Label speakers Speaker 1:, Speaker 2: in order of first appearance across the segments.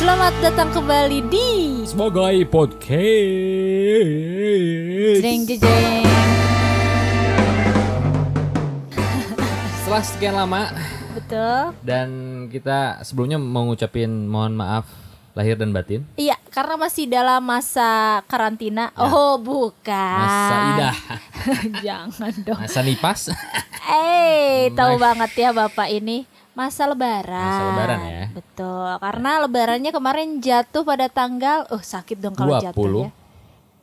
Speaker 1: datang kembali di
Speaker 2: sebagai podcast
Speaker 1: Jeng Jeng.
Speaker 2: setelah sekian lama
Speaker 1: Betul.
Speaker 2: dan kita sebelumnya mau ngucapin mohon maaf lahir dan batin
Speaker 1: Iya, karena masih dalam masa karantina. Oh, bukan.
Speaker 2: Ya. masa idah
Speaker 1: Jangan dong.
Speaker 2: masa nipas
Speaker 1: Eh, tahu banget ya Bapak ini. Masa lebaran.
Speaker 2: Masa lebaran ya.
Speaker 1: Betul. Karena lebarannya kemarin jatuh pada tanggal Oh, sakit dong kalau
Speaker 2: 20
Speaker 1: jatuh ya.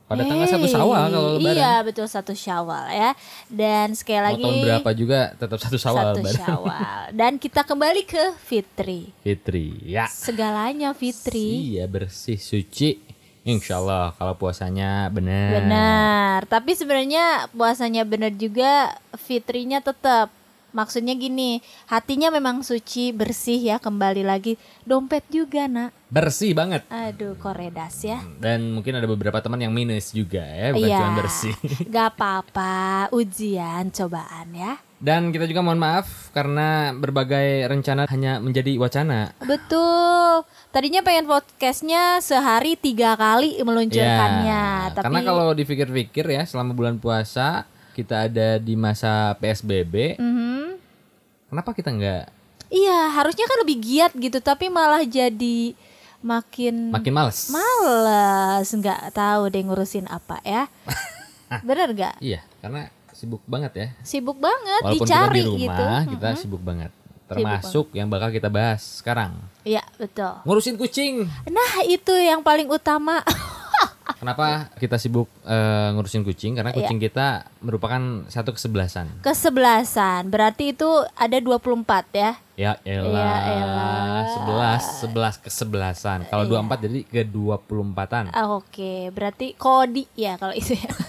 Speaker 2: pada tanggal satu
Speaker 1: Hei,
Speaker 2: sawal kalau lebaran
Speaker 1: Iya, betul satu Syawal ya. Dan sekali
Speaker 2: mau
Speaker 1: lagi
Speaker 2: tahun berapa juga tetap satu sawal
Speaker 1: satu
Speaker 2: lebaran
Speaker 1: Syawal. Dan kita kembali ke Fitri.
Speaker 2: Fitri ya
Speaker 1: Segalanya Fitri.
Speaker 2: iya bersih suci Insya Allah kalau puasanya benar
Speaker 1: Benar. Tapi sebenarnya puasanya benar juga fitrinya tetap. Maksudnya gini, hatinya memang suci, bersih ya, kembali lagi dompet juga, Nak.
Speaker 2: bersih banget
Speaker 1: Aduh, koredas ya.
Speaker 2: dan mungkin ada beberapa teman yang minus juga ya bukan
Speaker 1: Iya.
Speaker 2: cuma bersih
Speaker 1: Gak apa-apa, ujian, cobaan ya.
Speaker 2: Dan kita juga mohon maaf karena berbagai rencana hanya menjadi wacana.
Speaker 1: Betul. Tadinya pengen podcastnya sehari tiga kali meluncurkannya, tapi
Speaker 2: Ya, Iya, Karena kalau dipikir-pikir ya selama bulan puasa kita ada di masa PSBB.
Speaker 1: Mhm.
Speaker 2: Kenapa kita nggak
Speaker 1: Iya, harusnya kan lebih giat gitu, tapi malah jadi makin
Speaker 2: makin males?
Speaker 1: males, nggak tahu deh ngurusin apa ya. Bener nggak?
Speaker 2: Iya, karena sibuk banget ya.
Speaker 1: Sibuk banget
Speaker 2: Walaupun
Speaker 1: dicari
Speaker 2: kita di
Speaker 1: gitu.
Speaker 2: rumah, kita sibuk banget. Termasuk yang bakal kita bahas sekarang.
Speaker 1: Iya, betul.
Speaker 2: Ngurusin kucing.
Speaker 1: Nah, itu yang paling utama.
Speaker 2: Kenapa kita sibuk eh, ngurusin kucing? Karena kucing kita merupakan satu kesebelasan.
Speaker 1: Kesebelasan. Berarti itu ada 24 ya.
Speaker 2: Ya
Speaker 1: Ya
Speaker 2: elah,
Speaker 1: elah. Iya.
Speaker 2: sebelas, sebelas kesebelasan. Kalau dua empat jadi ke dua puluh empatan.
Speaker 1: Ah, Oke, berarti kodi ya kalau itu ya.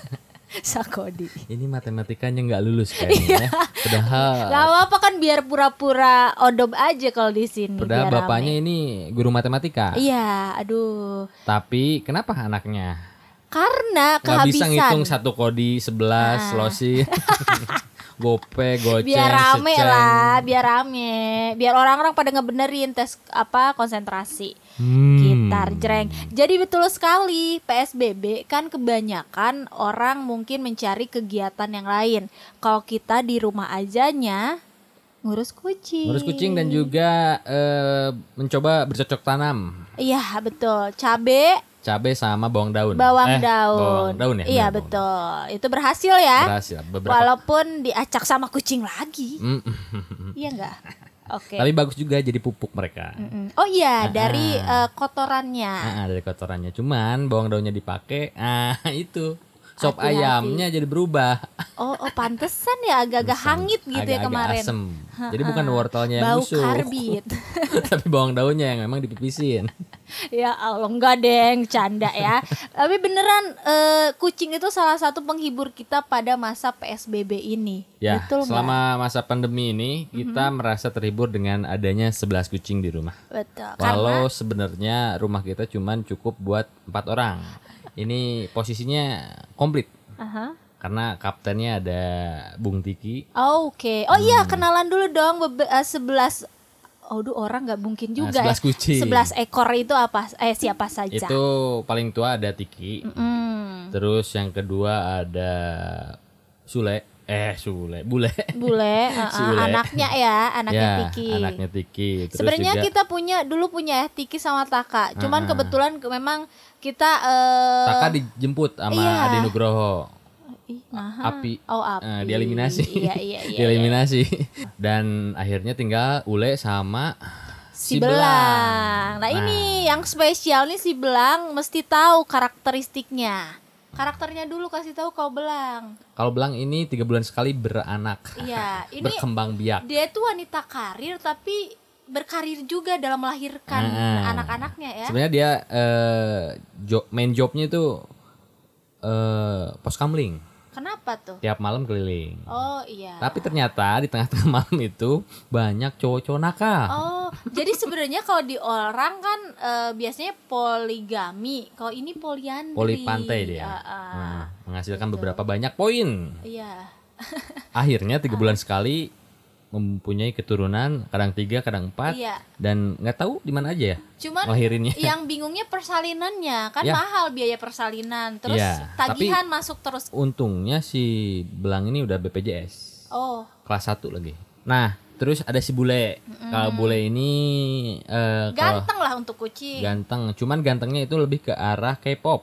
Speaker 1: Sakodi.
Speaker 2: Ini matematikanya nggak lulus
Speaker 1: Iya.
Speaker 2: kayaknya. ya. Padahal,
Speaker 1: Gak apa-apa kan biar pura-pura odob aja kalau di sini.
Speaker 2: padahal
Speaker 1: biar
Speaker 2: bapaknya
Speaker 1: rame.
Speaker 2: ini guru matematika.
Speaker 1: Iya, aduh.
Speaker 2: Tapi kenapa anaknya
Speaker 1: Karena
Speaker 2: nggak bisa
Speaker 1: kehabisan. Ah.
Speaker 2: ngitung satu kodi sebelas, losi, gope, goceng,
Speaker 1: biar rame
Speaker 2: seceng.
Speaker 1: lah, biar rame, biar orang-orang pada ngebenerin tes apa konsentrasi.
Speaker 2: Hmm.
Speaker 1: Gitar jreng. Jadi betul sekali PSBB kan kebanyakan orang mungkin mencari kegiatan yang lain. Kalau kita di rumah ajanya ngurus kucing.
Speaker 2: Ngurus kucing dan juga eh, mencoba bercocok tanam
Speaker 1: Iya betul. Cabe,
Speaker 2: cabai sama bawang daun.
Speaker 1: bawang
Speaker 2: Eh,
Speaker 1: daun.
Speaker 2: Bawang daun
Speaker 1: Iya
Speaker 2: ya. bener, bawang daun.
Speaker 1: betul. Itu berhasil ya.
Speaker 2: Berhasil. Beberapa
Speaker 1: Walaupun diacak sama kucing lagi.
Speaker 2: Mm.
Speaker 1: Iya enggak? Oke.
Speaker 2: Tapi bagus juga jadi pupuk mereka.
Speaker 1: Mm-mm. Oh iya, dari eh, kotorannya.
Speaker 2: Ah, ah, dari kotorannya. Cuman bawang daunnya dipakai, ah itu sop
Speaker 1: Hati-hati.
Speaker 2: ayamnya jadi berubah.
Speaker 1: Oh, oh pantesan ya agak-agak hangit gitu ya
Speaker 2: Agak-agak
Speaker 1: kemarin.
Speaker 2: asem. Jadi bukan wortelnya yang
Speaker 1: Bau
Speaker 2: busuk.
Speaker 1: karbit.
Speaker 2: Tapi bawang daunnya yang memang dipipisin.
Speaker 1: ya Allah enggak deng, canda ya. Tapi beneran eh, kucing itu salah satu penghibur kita pada masa PSBB ini.
Speaker 2: Ya,
Speaker 1: Betul Mm-hmm. nggak?
Speaker 2: selama masa pandemi ini kita merasa terhibur dengan adanya 11 kucing di rumah.
Speaker 1: Betul. Karena
Speaker 2: Walau sebenarnya rumah kita cuman cukup buat empat orang. Ini posisinya komplit
Speaker 1: Aha.
Speaker 2: karena kaptennya ada Bung Tiki,
Speaker 1: Oh, Oke. Oh iya,
Speaker 2: Hmm.
Speaker 1: kenalan dulu dong bebe- eh, 11 Aduh orang nggak mungkin
Speaker 2: Nah,
Speaker 1: juga
Speaker 2: 11 kucing.
Speaker 1: 11 ekor itu apa eh siapa saja?
Speaker 2: Itu paling tua ada Tiki.
Speaker 1: Hmm,
Speaker 2: Terus yang kedua ada Sule. Eh, Sule. Bule.
Speaker 1: bule, eh, eh,
Speaker 2: Si Ule.
Speaker 1: anaknya ya, anaknya
Speaker 2: ya,
Speaker 1: Tiki.
Speaker 2: anaknya Tiki. Terus
Speaker 1: Sebenarnya
Speaker 2: juga
Speaker 1: kita punya dulu punya ya Tiki sama Taka. Cuman kebetulan ke- memang kita eh
Speaker 2: Taka dijemput sama
Speaker 1: Iya.
Speaker 2: Adi Nugroho.
Speaker 1: ih, nahan.
Speaker 2: Api.
Speaker 1: Oh,
Speaker 2: Eh,
Speaker 1: api.
Speaker 2: dieliminasi.
Speaker 1: Iya, iya, iya.
Speaker 2: dieliminasi. Dan akhirnya tinggal Ule sama
Speaker 1: Si Belang. Nah, ini yang spesial nih si Belang mesti tahu karakteristiknya. Karakternya dulu kasih tahu kau Belang.
Speaker 2: Kalau Belang ini tiga bulan sekali beranak.
Speaker 1: Iya, ini
Speaker 2: Berkembang biak.
Speaker 1: dia itu wanita karir tapi berkarir juga dalam melahirkan
Speaker 2: Ah.
Speaker 1: anak-anaknya ya.
Speaker 2: Sebenarnya dia eh job, main jobnya itu eh pos kamling.
Speaker 1: Kenapa tuh?
Speaker 2: Tiap malam keliling.
Speaker 1: Oh iya.
Speaker 2: Tapi ternyata di tengah-tengah malam itu banyak cowok-cowok nakal.
Speaker 1: Oh, jadi sebenarnya kalau di orang kan eh, biasanya poligami. Kalau ini poliandri.
Speaker 2: Poli pantai dia.
Speaker 1: Ah, ah.
Speaker 2: Nah, menghasilkan beberapa banyak poin.
Speaker 1: Iya.
Speaker 2: Akhirnya tiga bulan sekali mempunyai keturunan kadang tiga kadang empat
Speaker 1: Iya.
Speaker 2: dan nggak tahu di mana aja ya
Speaker 1: Cuman
Speaker 2: ngelahirinnya
Speaker 1: yang bingungnya persalinannya kan
Speaker 2: Ya.
Speaker 1: mahal biaya persalinan terus
Speaker 2: Ya, tapi-
Speaker 1: tagihan masuk terus
Speaker 2: untungnya si belang ini udah BPJS
Speaker 1: oh
Speaker 2: kelas 1 lagi nah terus ada si bule kalau bule ini eh, kalau
Speaker 1: ganteng lah untuk kucing
Speaker 2: ganteng cuman gantengnya itu lebih ke arah K-pop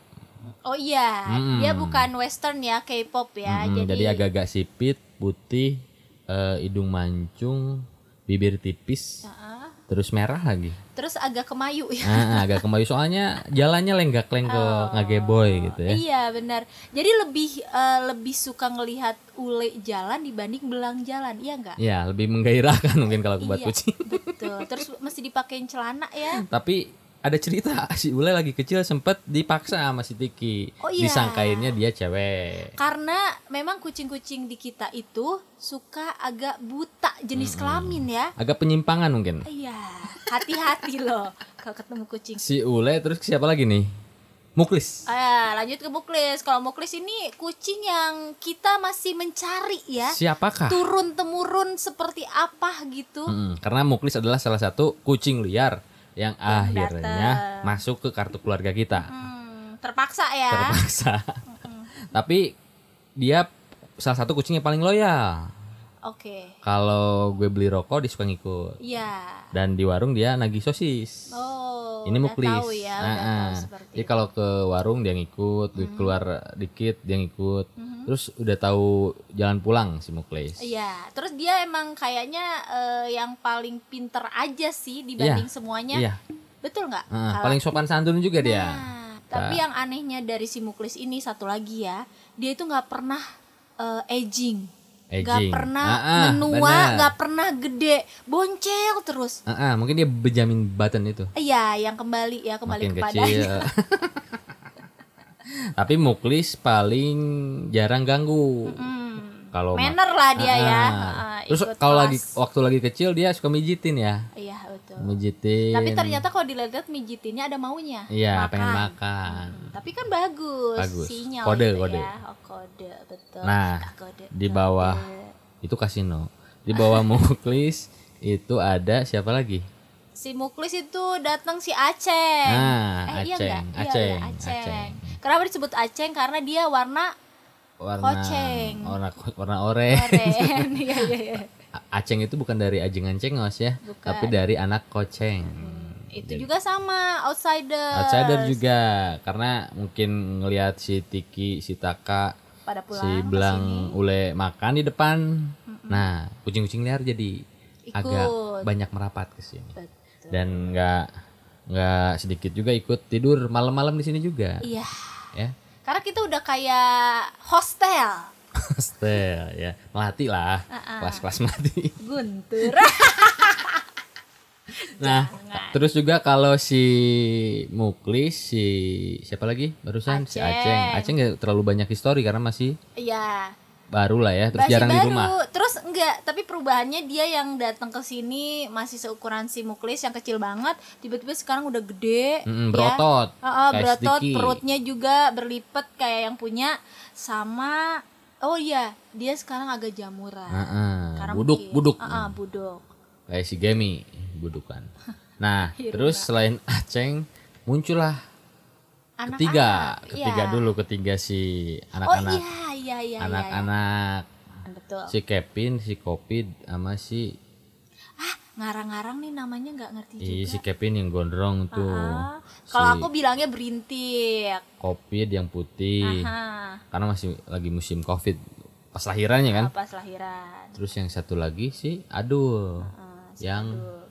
Speaker 1: oh iya
Speaker 2: Mm-mm.
Speaker 1: dia bukan western ya K-pop ya
Speaker 2: Mm-mm,
Speaker 1: jadi,
Speaker 2: jadi agak-agak sipit putih eh, hidung mancung bibir tipis
Speaker 1: Ah,
Speaker 2: terus merah lagi
Speaker 1: terus agak kemayu ya
Speaker 2: Nah, agak kembali soalnya jalannya lenggak-leng ke ngageboy gitu ya.
Speaker 1: Oh. Iya benar. Jadi lebih eh, lebih suka ngelihat ule jalan dibanding belang jalan, iya nggak?
Speaker 2: Ya, lebih menggairahkan mungkin kalau buat
Speaker 1: Iya.
Speaker 2: kucing.
Speaker 1: Betul. Terus mesti dipakein celana ya.
Speaker 2: Tapi ada cerita si Ule lagi kecil sempet dipaksa sama si Tiki.
Speaker 1: Oh iya.
Speaker 2: Disangkainnya dia cewek.
Speaker 1: Karena memang kucing-kucing di kita itu suka agak buta jenis kelamin ya.
Speaker 2: Agak penyimpangan mungkin.
Speaker 1: Iya, hati-hati loh kalau ketemu kucing.
Speaker 2: Si Ule terus siapa lagi nih? Muklis.
Speaker 1: Eh, lanjut ke Muklis. Kalau Muklis ini kucing yang kita masih mencari ya.
Speaker 2: Siapakah?
Speaker 1: Turun temurun seperti apa gitu.
Speaker 2: Mm-mm, karena Muklis adalah salah satu kucing liar yang akhirnya
Speaker 1: datang.
Speaker 2: masuk ke kartu keluarga kita.
Speaker 1: Hmm, terpaksa ya.
Speaker 2: Terpaksa. Tapi dia salah satu kucing yang paling loyal.
Speaker 1: Oke.
Speaker 2: Kalau gue beli rokok dia suka ngikut.
Speaker 1: Iya.
Speaker 2: Dan di warung dia nagih sosis.
Speaker 1: Oh,
Speaker 2: Ini
Speaker 1: udah
Speaker 2: muklis.
Speaker 1: Tahu ya, udah
Speaker 2: Ah, ah.
Speaker 1: tahu seperti
Speaker 2: Jadi
Speaker 1: itu.
Speaker 2: kalau ke warung dia ngikut, gue keluar dikit dia ngikut. Terus udah tahu jalan pulang si muklis.
Speaker 1: Iya, terus dia emang kayaknya eh, yang paling pinter aja sih dibanding semuanya.
Speaker 2: Iya.
Speaker 1: Betul nggak?
Speaker 2: Ah, iya.
Speaker 1: Kalau-
Speaker 2: paling sopan santun juga dia.
Speaker 1: Nah, tapi yang anehnya dari si muklis ini satu lagi ya, dia itu nggak pernah eh, aging.
Speaker 2: Aging.
Speaker 1: Nggak pernah
Speaker 2: Ah, ah,
Speaker 1: menua,
Speaker 2: benar.
Speaker 1: nggak pernah gede, boncel terus.
Speaker 2: Ah, ah, mungkin dia Benjamin Button itu.
Speaker 1: Iya, yang kembali ya kembali
Speaker 2: Makin
Speaker 1: kepadanya.
Speaker 2: kecil. Tapi muklis paling jarang ganggu.
Speaker 1: Hmm,
Speaker 2: Kalau ma-
Speaker 1: manner lah dia
Speaker 2: Ah,
Speaker 1: ya. Ah,
Speaker 2: ah. Terus
Speaker 1: ikut
Speaker 2: kalau
Speaker 1: kelas.
Speaker 2: lagi oh, waktu lagi kecil dia suka mijitin ya.
Speaker 1: Iya, betul.
Speaker 2: Mijitin.
Speaker 1: Tapi ternyata kalau dilihat mijitinnya ada maunya.
Speaker 2: Iya, pengen makan.
Speaker 1: Tapi kan bagus,
Speaker 2: Hmm. Bagus.
Speaker 1: sinyal
Speaker 2: Kode,
Speaker 1: itu
Speaker 2: kode.
Speaker 1: ya. Oh, kode, betul.
Speaker 2: Nah,
Speaker 1: Ah, kode,
Speaker 2: di
Speaker 1: kode.
Speaker 2: bawah itu kasino. Di bawah Muklis itu ada siapa lagi?
Speaker 1: si Muklis itu datang si Aceng.
Speaker 2: Nah,
Speaker 1: eh, iya
Speaker 2: Aceng,
Speaker 1: enggak? Iya, iya,
Speaker 2: Aceng,
Speaker 1: Aceng.
Speaker 2: Aceng.
Speaker 1: Kenapa disebut Aceng? Karena dia warna
Speaker 2: Warna
Speaker 1: Koceng.
Speaker 2: warna warna orange.
Speaker 1: oren. Iya, iya, iya.
Speaker 2: A- Aceng itu bukan dari ajengan cengos ya,
Speaker 1: Bukan. Hmm,
Speaker 2: tapi dari anak koceng.
Speaker 1: Itu juga sama outsider.
Speaker 2: Outsider juga karena mungkin ngelihat si Tiki, si Taka,
Speaker 1: Pada pulang
Speaker 2: si
Speaker 1: ke
Speaker 2: Belang Ule makan di depan. Nah, kucing-kucing liar jadi agak
Speaker 1: Ikut.
Speaker 2: banyak merapat ke sini.
Speaker 1: sini.
Speaker 2: dan nggak nggak sedikit juga ikut tidur malam-malam di sini juga
Speaker 1: Iya.
Speaker 2: ya
Speaker 1: Karena kita udah kayak hostel.
Speaker 2: hostel ya melatih lah kelas-kelas melatih
Speaker 1: Guntur.
Speaker 2: nah terus juga kalau si Muklis si siapa lagi barusan si Aceng
Speaker 1: Aceng.
Speaker 2: Aceng nggak terlalu banyak histori karena masih
Speaker 1: Iya.
Speaker 2: baru lah ya terus
Speaker 1: Masih
Speaker 2: jarang
Speaker 1: baru.
Speaker 2: di rumah
Speaker 1: Terus enggak, tapi perubahannya dia yang datang ke sini masih seukuran si Muklis yang kecil banget, tiba-tiba sekarang udah gede. ya.
Speaker 2: Mm-mm, berotot
Speaker 1: Heeh,
Speaker 2: kayak
Speaker 1: berotot,
Speaker 2: Sticky.
Speaker 1: perutnya juga berlipet kayak yang punya sama Oh iya, dia sekarang agak jamuran.
Speaker 2: Heeh,
Speaker 1: Karena
Speaker 2: Ah, buduk
Speaker 1: mungkin-
Speaker 2: buduk
Speaker 1: Heeh, buduk.
Speaker 2: kayak si Gemi budukan nah
Speaker 1: Iya.
Speaker 2: terus selain Aceng muncullah
Speaker 1: Anak-anak,
Speaker 2: ketiga
Speaker 1: iya.
Speaker 2: ketiga dulu ketiga si
Speaker 1: Oh iya,
Speaker 2: anak-anak
Speaker 1: iya, iya, iya.
Speaker 2: anak-anak
Speaker 1: iya. Betul.
Speaker 2: si Kevin si Kopid sama si
Speaker 1: Ah, ngarang-ngarang nih namanya nggak ngerti
Speaker 2: i,
Speaker 1: juga.
Speaker 2: si Kevin yang gondrong tuh
Speaker 1: Ah, Kalau
Speaker 2: si
Speaker 1: aku bilangnya berintik.
Speaker 2: Kopid yang putih
Speaker 1: Hah,
Speaker 2: karena masih lagi musim Covid pas lahirannya kan
Speaker 1: pas lahiran.
Speaker 2: terus yang satu lagi si Adul
Speaker 1: Ah, si
Speaker 2: yang
Speaker 1: Adul.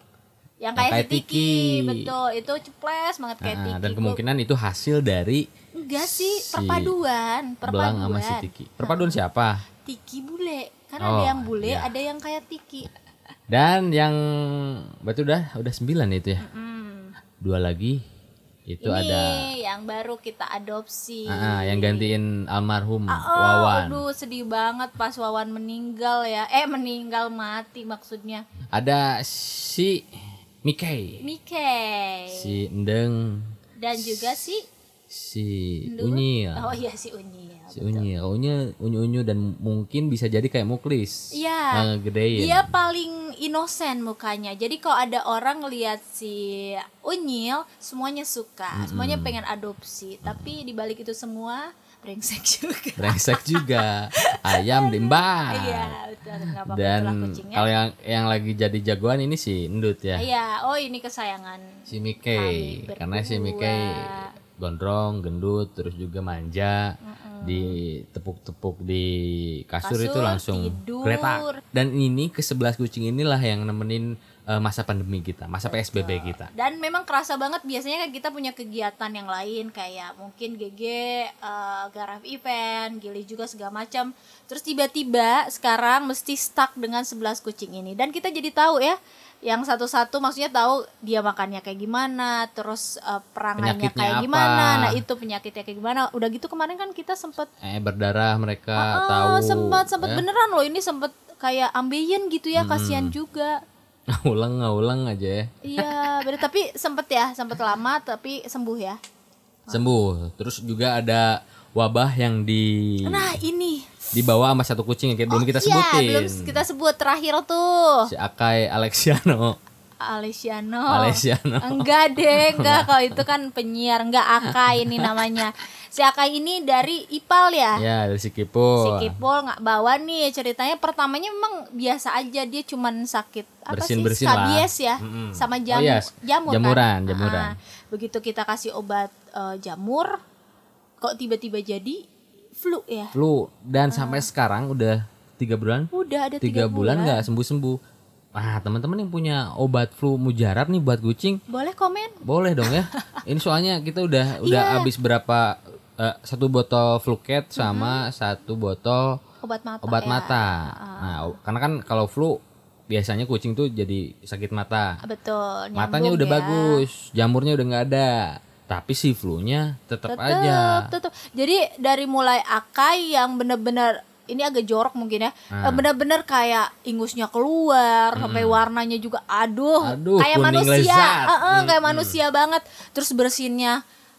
Speaker 1: yang kayak
Speaker 2: kayak
Speaker 1: si Tiki.
Speaker 2: Tiki.
Speaker 1: betul itu ceples banget kayak
Speaker 2: Ah,
Speaker 1: Tiki
Speaker 2: dan
Speaker 1: Gua-
Speaker 2: kemungkinan itu hasil dari
Speaker 1: enggak sih
Speaker 2: si
Speaker 1: perpaduan perpaduan
Speaker 2: Belang sama si Tiki perpaduan siapa
Speaker 1: Tiki bule karena
Speaker 2: Oh,
Speaker 1: ada yang bule
Speaker 2: iya.
Speaker 1: ada yang kayak Tiki
Speaker 2: dan yang berarti udah udah sembilan itu ya
Speaker 1: Hmm.
Speaker 2: dua lagi itu
Speaker 1: ini
Speaker 2: ada
Speaker 1: yang baru kita adopsi
Speaker 2: Ah, ah, yang gantiin almarhum
Speaker 1: Oh,
Speaker 2: Wawan.
Speaker 1: aduh sedih banget pas Wawan meninggal ya eh meninggal mati maksudnya
Speaker 2: Ada si Mikey,
Speaker 1: Mike
Speaker 2: si Endeng,
Speaker 1: dan juga si
Speaker 2: si
Speaker 1: Ndu.
Speaker 2: Unyil.
Speaker 1: oh iya si Unyil
Speaker 2: si Unyi, Oh, Unyi, Unyu Unyu dan mungkin bisa jadi kayak Muklis.
Speaker 1: Iya.
Speaker 2: Nah, gedein.
Speaker 1: Dia paling inosen mukanya. Jadi kalau ada orang lihat si Unyil, semuanya suka, semuanya pengen adopsi. Tapi dibalik itu semua brengsek juga.
Speaker 2: Brengsek juga. Ayam diembat.
Speaker 1: Iya, betul. Kenapa itulah
Speaker 2: Ah. Dan
Speaker 1: kucingnya?
Speaker 2: kalau yang yang lagi jadi jagoan ini si Endut ya.
Speaker 1: Iya, oh ini kesayangan.
Speaker 2: Si Mikey.
Speaker 1: Kami
Speaker 2: Karena
Speaker 1: berdua.
Speaker 2: si Mikey gondrong, gendut, terus juga manja. Ditepuk-tepuk di kasur, itu
Speaker 1: Kasur,
Speaker 2: langsung
Speaker 1: tidur.
Speaker 2: kereta. Dan ini ke sebelas kucing inilah yang nemenin eh, masa pandemi kita, masa PSBB kita.
Speaker 1: Dan memang kerasa banget biasanya kan kita punya kegiatan yang lain kayak mungkin GG, eh, Garaf event, Gili juga segala macam. Terus tiba-tiba sekarang mesti stuck dengan 11 kucing ini dan kita jadi tahu ya yang satu-satu maksudnya tahu dia makannya kayak gimana, terus eh, perangannya
Speaker 2: Penyakitnya
Speaker 1: kayak
Speaker 2: apa.
Speaker 1: gimana. Nah, itu penyakitnya kayak gimana. Udah gitu kemarin kan kita sempet
Speaker 2: Eh berdarah mereka
Speaker 1: Ah,
Speaker 2: tahu.
Speaker 1: sempat sempat
Speaker 2: ya. Hmm.
Speaker 1: beneran loh ini sempat kayak ambeien gitu ya, kasihan juga.
Speaker 2: ulang ulang aja ya.
Speaker 1: Iya, bener tapi sempet ya, sempet lama tapi sembuh ya.
Speaker 2: sembuh terus juga ada wabah yang di
Speaker 1: Nah, ini.
Speaker 2: dibawa sama satu kucing yang kayak Iya. Oh, belum oh. kita
Speaker 1: Iya,
Speaker 2: sebutin
Speaker 1: belum kita sebut terakhir tuh.
Speaker 2: si Akai Alexiano
Speaker 1: Alesiano.
Speaker 2: Oh. Alesiano.
Speaker 1: Enggak deh, enggak kalau itu kan penyiar, enggak Akai ini namanya. Si Akai ini dari Ipal ya.
Speaker 2: ya dari si
Speaker 1: Si
Speaker 2: Kipo
Speaker 1: Kipol nggak bawa nih ceritanya pertamanya memang biasa aja dia cuman sakit apa sih
Speaker 2: Bersin-bersin lah.
Speaker 1: skabies ya
Speaker 2: Mm-mm.
Speaker 1: sama
Speaker 2: Oh,
Speaker 1: jamu
Speaker 2: iya.
Speaker 1: jamur kan?
Speaker 2: Jamuran, jamuran.
Speaker 1: Ah, begitu kita kasih obat eh, jamur kok tiba-tiba jadi flu ya
Speaker 2: lu dan sampai sekarang Ah. udah tiga bulan
Speaker 1: udah ada
Speaker 2: tiga bulan nggak sembuh sembuh nah teman-teman yang punya obat flu mujarab nih buat kucing
Speaker 1: boleh komen
Speaker 2: boleh dong ya ini soalnya kita udah udah habis berapa eh, satu botol fluket sama satu botol
Speaker 1: obat mata
Speaker 2: obat
Speaker 1: ya.
Speaker 2: mata. Nah, o- karena kan kalau flu biasanya kucing tuh jadi sakit mata.
Speaker 1: betul nyambung
Speaker 2: Matanya udah
Speaker 1: ya.
Speaker 2: bagus, jamurnya udah nggak ada, tapi si flu-nya tetap aja.
Speaker 1: Tetep, tetep. Jadi dari mulai Akai yang bener-bener ini agak jorok mungkin ya.
Speaker 2: Nah.
Speaker 1: Eh, Bener-bener kayak ingusnya keluar sampai warnanya juga aduh,
Speaker 2: Hmm. Aduh,
Speaker 1: kayak
Speaker 2: kuning
Speaker 1: manusia.
Speaker 2: lezat. Hmm,
Speaker 1: Eh, eh, kayak manusia banget. Terus bersinnya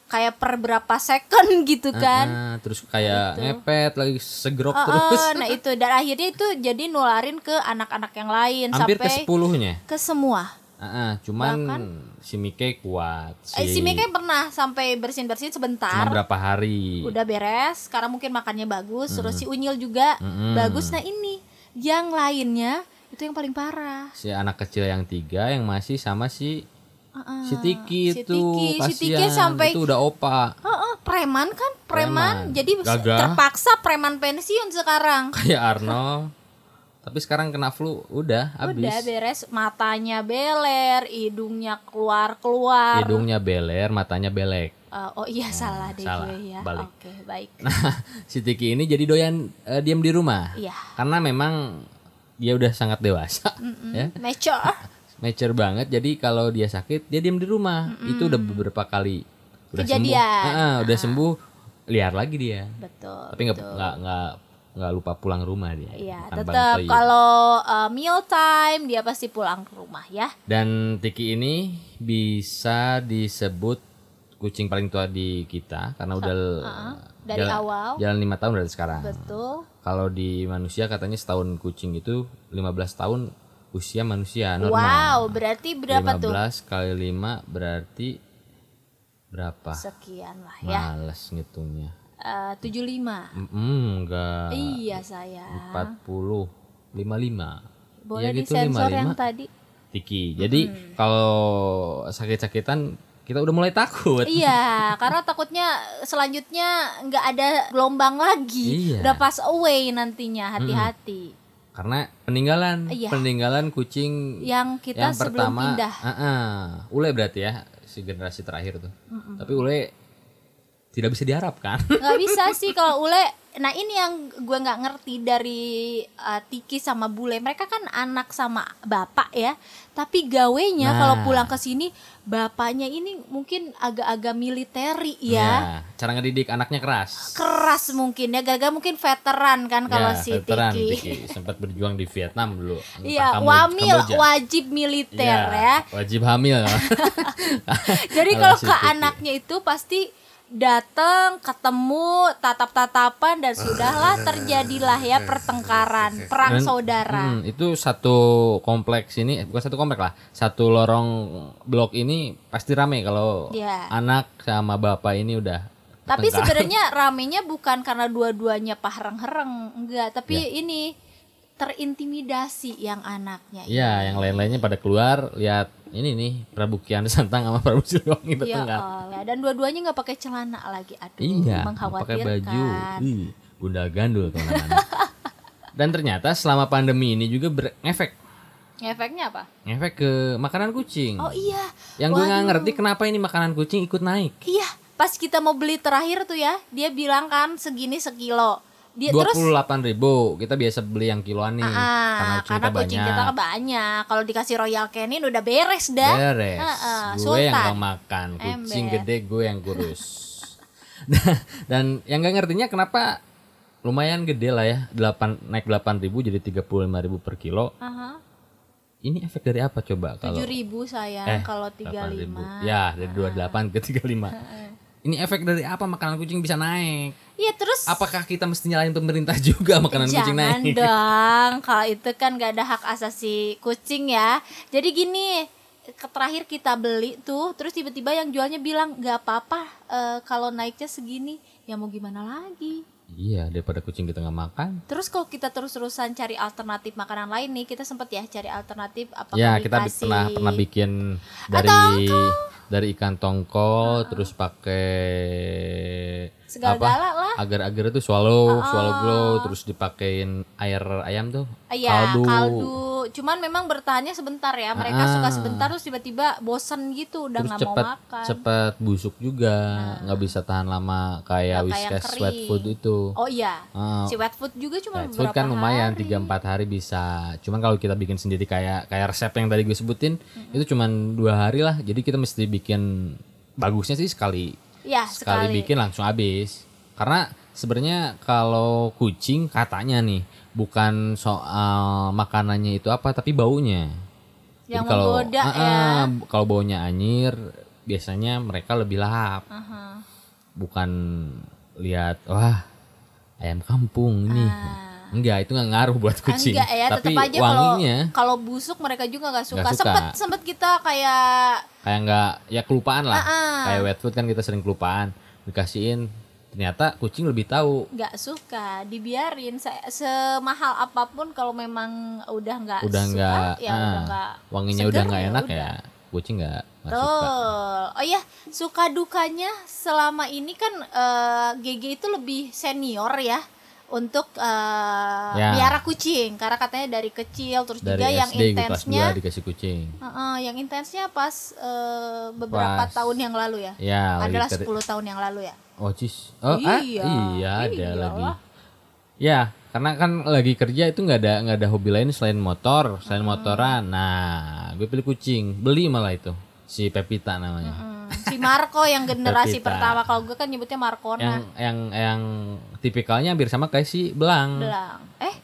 Speaker 1: kayak per berapa second gitu kan.
Speaker 2: Nah, terus
Speaker 1: Gitu.
Speaker 2: kayak ngepet lagi segrok
Speaker 1: Eh,
Speaker 2: terus.
Speaker 1: eh, nah itu dan akhirnya itu jadi nularin ke anak-anak yang lain
Speaker 2: Hampir ke
Speaker 1: sampai
Speaker 2: sepuluhnya.
Speaker 1: ke semua.
Speaker 2: Ah, ah, cuman si Mike kuat
Speaker 1: Eh, si
Speaker 2: sih.
Speaker 1: Mika pernah sampai bersin-bersin sebentar.
Speaker 2: Cuma berapa hari?
Speaker 1: udah beres sekarang mungkin makannya bagus terus si unyil juga bagus nah ini yang lainnya itu yang paling parah
Speaker 2: Si anak kecil yang tiga yang masih sama si
Speaker 1: Heeh.
Speaker 2: si Tiki
Speaker 1: Ah, Si
Speaker 2: tuh
Speaker 1: Tiki, si Tiki
Speaker 2: kasihan.
Speaker 1: sampai-
Speaker 2: itu udah opa.
Speaker 1: Heeh, preman kan preman,
Speaker 2: Preman.
Speaker 1: jadi
Speaker 2: Gagah.
Speaker 1: terpaksa preman pensiun sekarang
Speaker 2: kayak Arnold tapi sekarang kena flu udah habis
Speaker 1: udah beres matanya beler hidungnya keluar keluar
Speaker 2: hidungnya beler matanya belek
Speaker 1: oh iya salah deh
Speaker 2: Eh, salah.
Speaker 1: gue ya
Speaker 2: Balik.
Speaker 1: oke baik
Speaker 2: nah si Tiki ini jadi doyan eh, diam di rumah
Speaker 1: iya
Speaker 2: karena memang dia udah sangat dewasa ya
Speaker 1: mm, mature
Speaker 2: mature banget jadi kalau dia sakit dia diam di rumah itu udah beberapa kali udah
Speaker 1: Kejadian.
Speaker 2: sembuh Ah, ah, udah sembuh liar lagi dia
Speaker 1: betul
Speaker 2: tapi nggak nggak nggak nggak lupa pulang rumah dia
Speaker 1: Iya,
Speaker 2: Tanpa
Speaker 1: tetap
Speaker 2: ngetoi.
Speaker 1: kalau uh, meal time dia pasti pulang ke rumah ya.
Speaker 2: Dan Tiki ini bisa disebut kucing paling tua di kita karena udah
Speaker 1: dari
Speaker 2: jalan,
Speaker 1: awal.
Speaker 2: jalan lima tahun dari sekarang.
Speaker 1: Betul.
Speaker 2: Kalau di manusia katanya setahun kucing itu 15 tahun usia manusia normal. Iya.
Speaker 1: Wow, berarti berapa tuh?
Speaker 2: 15 kali 5 berarti berapa?
Speaker 1: Sekian lah ya.
Speaker 2: Males ngitungnya.
Speaker 1: Eh, 75.
Speaker 2: Mm, enggak
Speaker 1: Iya saya.
Speaker 2: 40 55.
Speaker 1: Boleh
Speaker 2: Ya gitu,
Speaker 1: disensor yang
Speaker 2: 55.
Speaker 1: tadi?
Speaker 2: Tiki. Jadi kalau sakit-sakitan kita udah mulai takut.
Speaker 1: Iya, karena takutnya selanjutnya nggak ada gelombang lagi.
Speaker 2: Iya.
Speaker 1: Udah pass away nantinya, hati-hati.
Speaker 2: Karena peninggalan,
Speaker 1: Iya.
Speaker 2: peninggalan kucing
Speaker 1: Yang kita
Speaker 2: yang
Speaker 1: sebelum
Speaker 2: pertama,
Speaker 1: pindah.
Speaker 2: ah, ah, Ule berarti ya si generasi terakhir tuh. Tapi Ule tidak bisa kan? diharapkan.
Speaker 1: nggak bisa sih kalau ule nah ini yang gue nggak ngerti dari uh, Tiki sama Bule mereka kan anak sama bapak ya tapi gawenya
Speaker 2: Nah.
Speaker 1: kalau pulang ke sini bapaknya ini mungkin agak-agak militeri ya
Speaker 2: Ya, cara ngedidik anaknya keras.
Speaker 1: keras mungkin ya gagal mungkin veteran kan kalau
Speaker 2: Ya,
Speaker 1: si
Speaker 2: veteran
Speaker 1: Tiki,
Speaker 2: sempat berjuang di Vietnam dulu.
Speaker 1: Iya,
Speaker 2: Kambo-
Speaker 1: wamil
Speaker 2: Kamboja. Iya,
Speaker 1: wajib militer ya.
Speaker 2: Wajib hamil.
Speaker 1: Jadi kalau
Speaker 2: Kalau si
Speaker 1: ke
Speaker 2: Titi.
Speaker 1: anaknya itu pasti datang ketemu tatap-tatapan dan sudahlah terjadilah ya pertengkaran perang
Speaker 2: Dan-
Speaker 1: saudara
Speaker 2: Hmm, itu satu kompleks ini eh, bukan satu kompleks lah satu lorong blok ini pasti rame kalau
Speaker 1: Iya.
Speaker 2: anak sama bapak ini udah
Speaker 1: tapi
Speaker 2: bertengkar.
Speaker 1: sebenarnya ramenya bukan karena dua-duanya pahreng-hereng enggak tapi
Speaker 2: Ya.
Speaker 1: ini terintimidasi yang anaknya
Speaker 2: Iya, yang lain-lainnya pada keluar lihat ini nih Prabu Kian Santang sama Prabu
Speaker 1: Ya
Speaker 2: Siliwangi bertengkar.
Speaker 1: Allah, dan dua-duanya nggak pakai celana lagi aduh
Speaker 2: Iya, pakai
Speaker 1: mengkhawatirkan
Speaker 2: baju. Ih, Bunda gandul teman-teman. Dan ternyata selama pandemi ini juga berefek
Speaker 1: Iya. efeknya apa
Speaker 2: efek ke makanan kucing.
Speaker 1: oh iya
Speaker 2: yang gue nggak
Speaker 1: waduh.
Speaker 2: ngerti kenapa ini makanan kucing ikut naik.
Speaker 1: Iya, pas kita mau beli terakhir tuh ya, dia bilang kan segini sekilo. Dia
Speaker 2: Dua
Speaker 1: Ya, terus
Speaker 2: puluh ribu kita biasa beli yang kiloan nih
Speaker 1: ah,
Speaker 2: kucing
Speaker 1: karena
Speaker 2: kita
Speaker 1: kucing kita kan banyak. Kalau dikasih Royal Canin udah beres dah.
Speaker 2: Beres.
Speaker 1: Ya? Heeh,
Speaker 2: gue yang
Speaker 1: Sultan.
Speaker 2: gak makan, kucing
Speaker 1: Ember.
Speaker 2: gede gue yang kurus. Dan- Dan yang gak ngertinya kenapa lumayan gede lah ya, 8 naik 8.000 jadi 35.000 per kilo.
Speaker 1: Aha,
Speaker 2: Ini efek dari apa coba kalau
Speaker 1: 7.000 sayang
Speaker 2: eh,
Speaker 1: kalau
Speaker 2: 8.000.
Speaker 1: 35.
Speaker 2: Ya, dari 28 ke 35. Ini efek dari apa makanan kucing bisa naik?
Speaker 1: Iya, terus
Speaker 2: Apakah kita mesti nyalain pemerintah juga makanan kucing
Speaker 1: Jangan
Speaker 2: naik?
Speaker 1: dong, kalau itu kan gak ada hak asasi kucing ya. Jadi gini, ke- terakhir kita beli tuh, terus tiba-tiba yang jualnya bilang gak apa-apa eh, kalau naiknya segini. Ya mau gimana lagi?
Speaker 2: Iya, daripada kucing kita nggak makan.
Speaker 1: Terus kalau kita terus-terusan cari alternatif makanan lain nih, kita sempat ya cari alternatif apa
Speaker 2: Ya kita bi- pernah pernah bikin
Speaker 1: Ah,
Speaker 2: dari dari ikan tongkol terus pakai
Speaker 1: segala-gala lah. Ah,
Speaker 2: agar-agar itu swallow swallow glow terus dipakein air ayam tuh
Speaker 1: Iya, kaldu. Cuman memang bertahannya sebentar ya. Mereka
Speaker 2: Ah.
Speaker 1: suka sebentar terus tiba-tiba bosen gitu, udah
Speaker 2: terus
Speaker 1: nggak mau
Speaker 2: cepet
Speaker 1: makan. Ah.
Speaker 2: cepet busuk juga nggak bisa tahan lama kayak
Speaker 1: Nggak kayak
Speaker 2: whiskas
Speaker 1: kering.
Speaker 2: wet food itu
Speaker 1: Oh iya.
Speaker 2: Ah,
Speaker 1: Si wet food juga cuma
Speaker 2: wet food
Speaker 1: beberapa
Speaker 2: kan lumayan
Speaker 1: hari.
Speaker 2: 3 4 hari bisa. Cuman kalau kita bikin sendiri kayak kayak resep yang tadi gue sebutin itu cuman dua hari lah. Jadi kita mesti bikin bagusnya sih sekali
Speaker 1: Iya,
Speaker 2: sekali,
Speaker 1: sekali.
Speaker 2: bikin langsung habis. Karena sebenarnya kalau kucing katanya nih bukan soal makanannya itu apa tapi baunya.
Speaker 1: Yang
Speaker 2: Jadi kalau
Speaker 1: menggoda
Speaker 2: Ah,
Speaker 1: ya.
Speaker 2: ah, kalau baunya anyir biasanya mereka lebih lahap.
Speaker 1: Aha.
Speaker 2: Bukan lihat wah ayam kampung ini.
Speaker 1: Ah.
Speaker 2: Enggak, itu nggak ngaruh buat kucing.
Speaker 1: Enggak ya,
Speaker 2: tapi
Speaker 1: tetap aja kalau
Speaker 2: wanginya
Speaker 1: kalau busuk mereka juga nggak suka.
Speaker 2: Nggak suka.
Speaker 1: Sempet sempet kita kayak
Speaker 2: kayak nggak ya kelupaan lah.
Speaker 1: Ah, ah.
Speaker 2: Kayak wet food kan kita sering kelupaan. Dikasihin ternyata kucing lebih tahu
Speaker 1: nggak suka dibiarin Se- semahal apapun kalau memang udah nggak
Speaker 2: udah
Speaker 1: suka,
Speaker 2: nggak
Speaker 1: ya
Speaker 2: ah,
Speaker 1: udah nggak
Speaker 2: wanginya
Speaker 1: seger
Speaker 2: udah nggak
Speaker 1: ya
Speaker 2: enak
Speaker 1: udah.
Speaker 2: ya kucing nggak nggak suka
Speaker 1: Betul. Oh iya, suka dukanya selama ini kan eh, GG itu lebih senior ya untuk eh,
Speaker 2: Ya.
Speaker 1: biara kucing karena katanya dari kecil terus
Speaker 2: dari gitu,
Speaker 1: juga yang
Speaker 2: SD gue kelas
Speaker 1: intensnya
Speaker 2: 2 dikasih kucing
Speaker 1: Heeh, yang intensnya pas eh, beberapa
Speaker 2: Pas.
Speaker 1: tahun yang lalu ya.
Speaker 2: ya lagi
Speaker 1: Adalah
Speaker 2: ter-
Speaker 1: 10 tahun yang lalu ya.
Speaker 2: oh cis oh ah,
Speaker 1: Iya,
Speaker 2: iya ada
Speaker 1: iyalah.
Speaker 2: lagi ya karena kan lagi kerja itu nggak ada nggak ada hobi lain selain motor selain motoran nah gue pilih kucing beli malah itu si Pepita namanya
Speaker 1: Hmm, si Marco yang generasi
Speaker 2: Pepita.
Speaker 1: pertama kalau gue kan nyebutnya Marcona.
Speaker 2: yang yang yang tipikalnya hampir sama kayak si Belang
Speaker 1: Belang. Eh,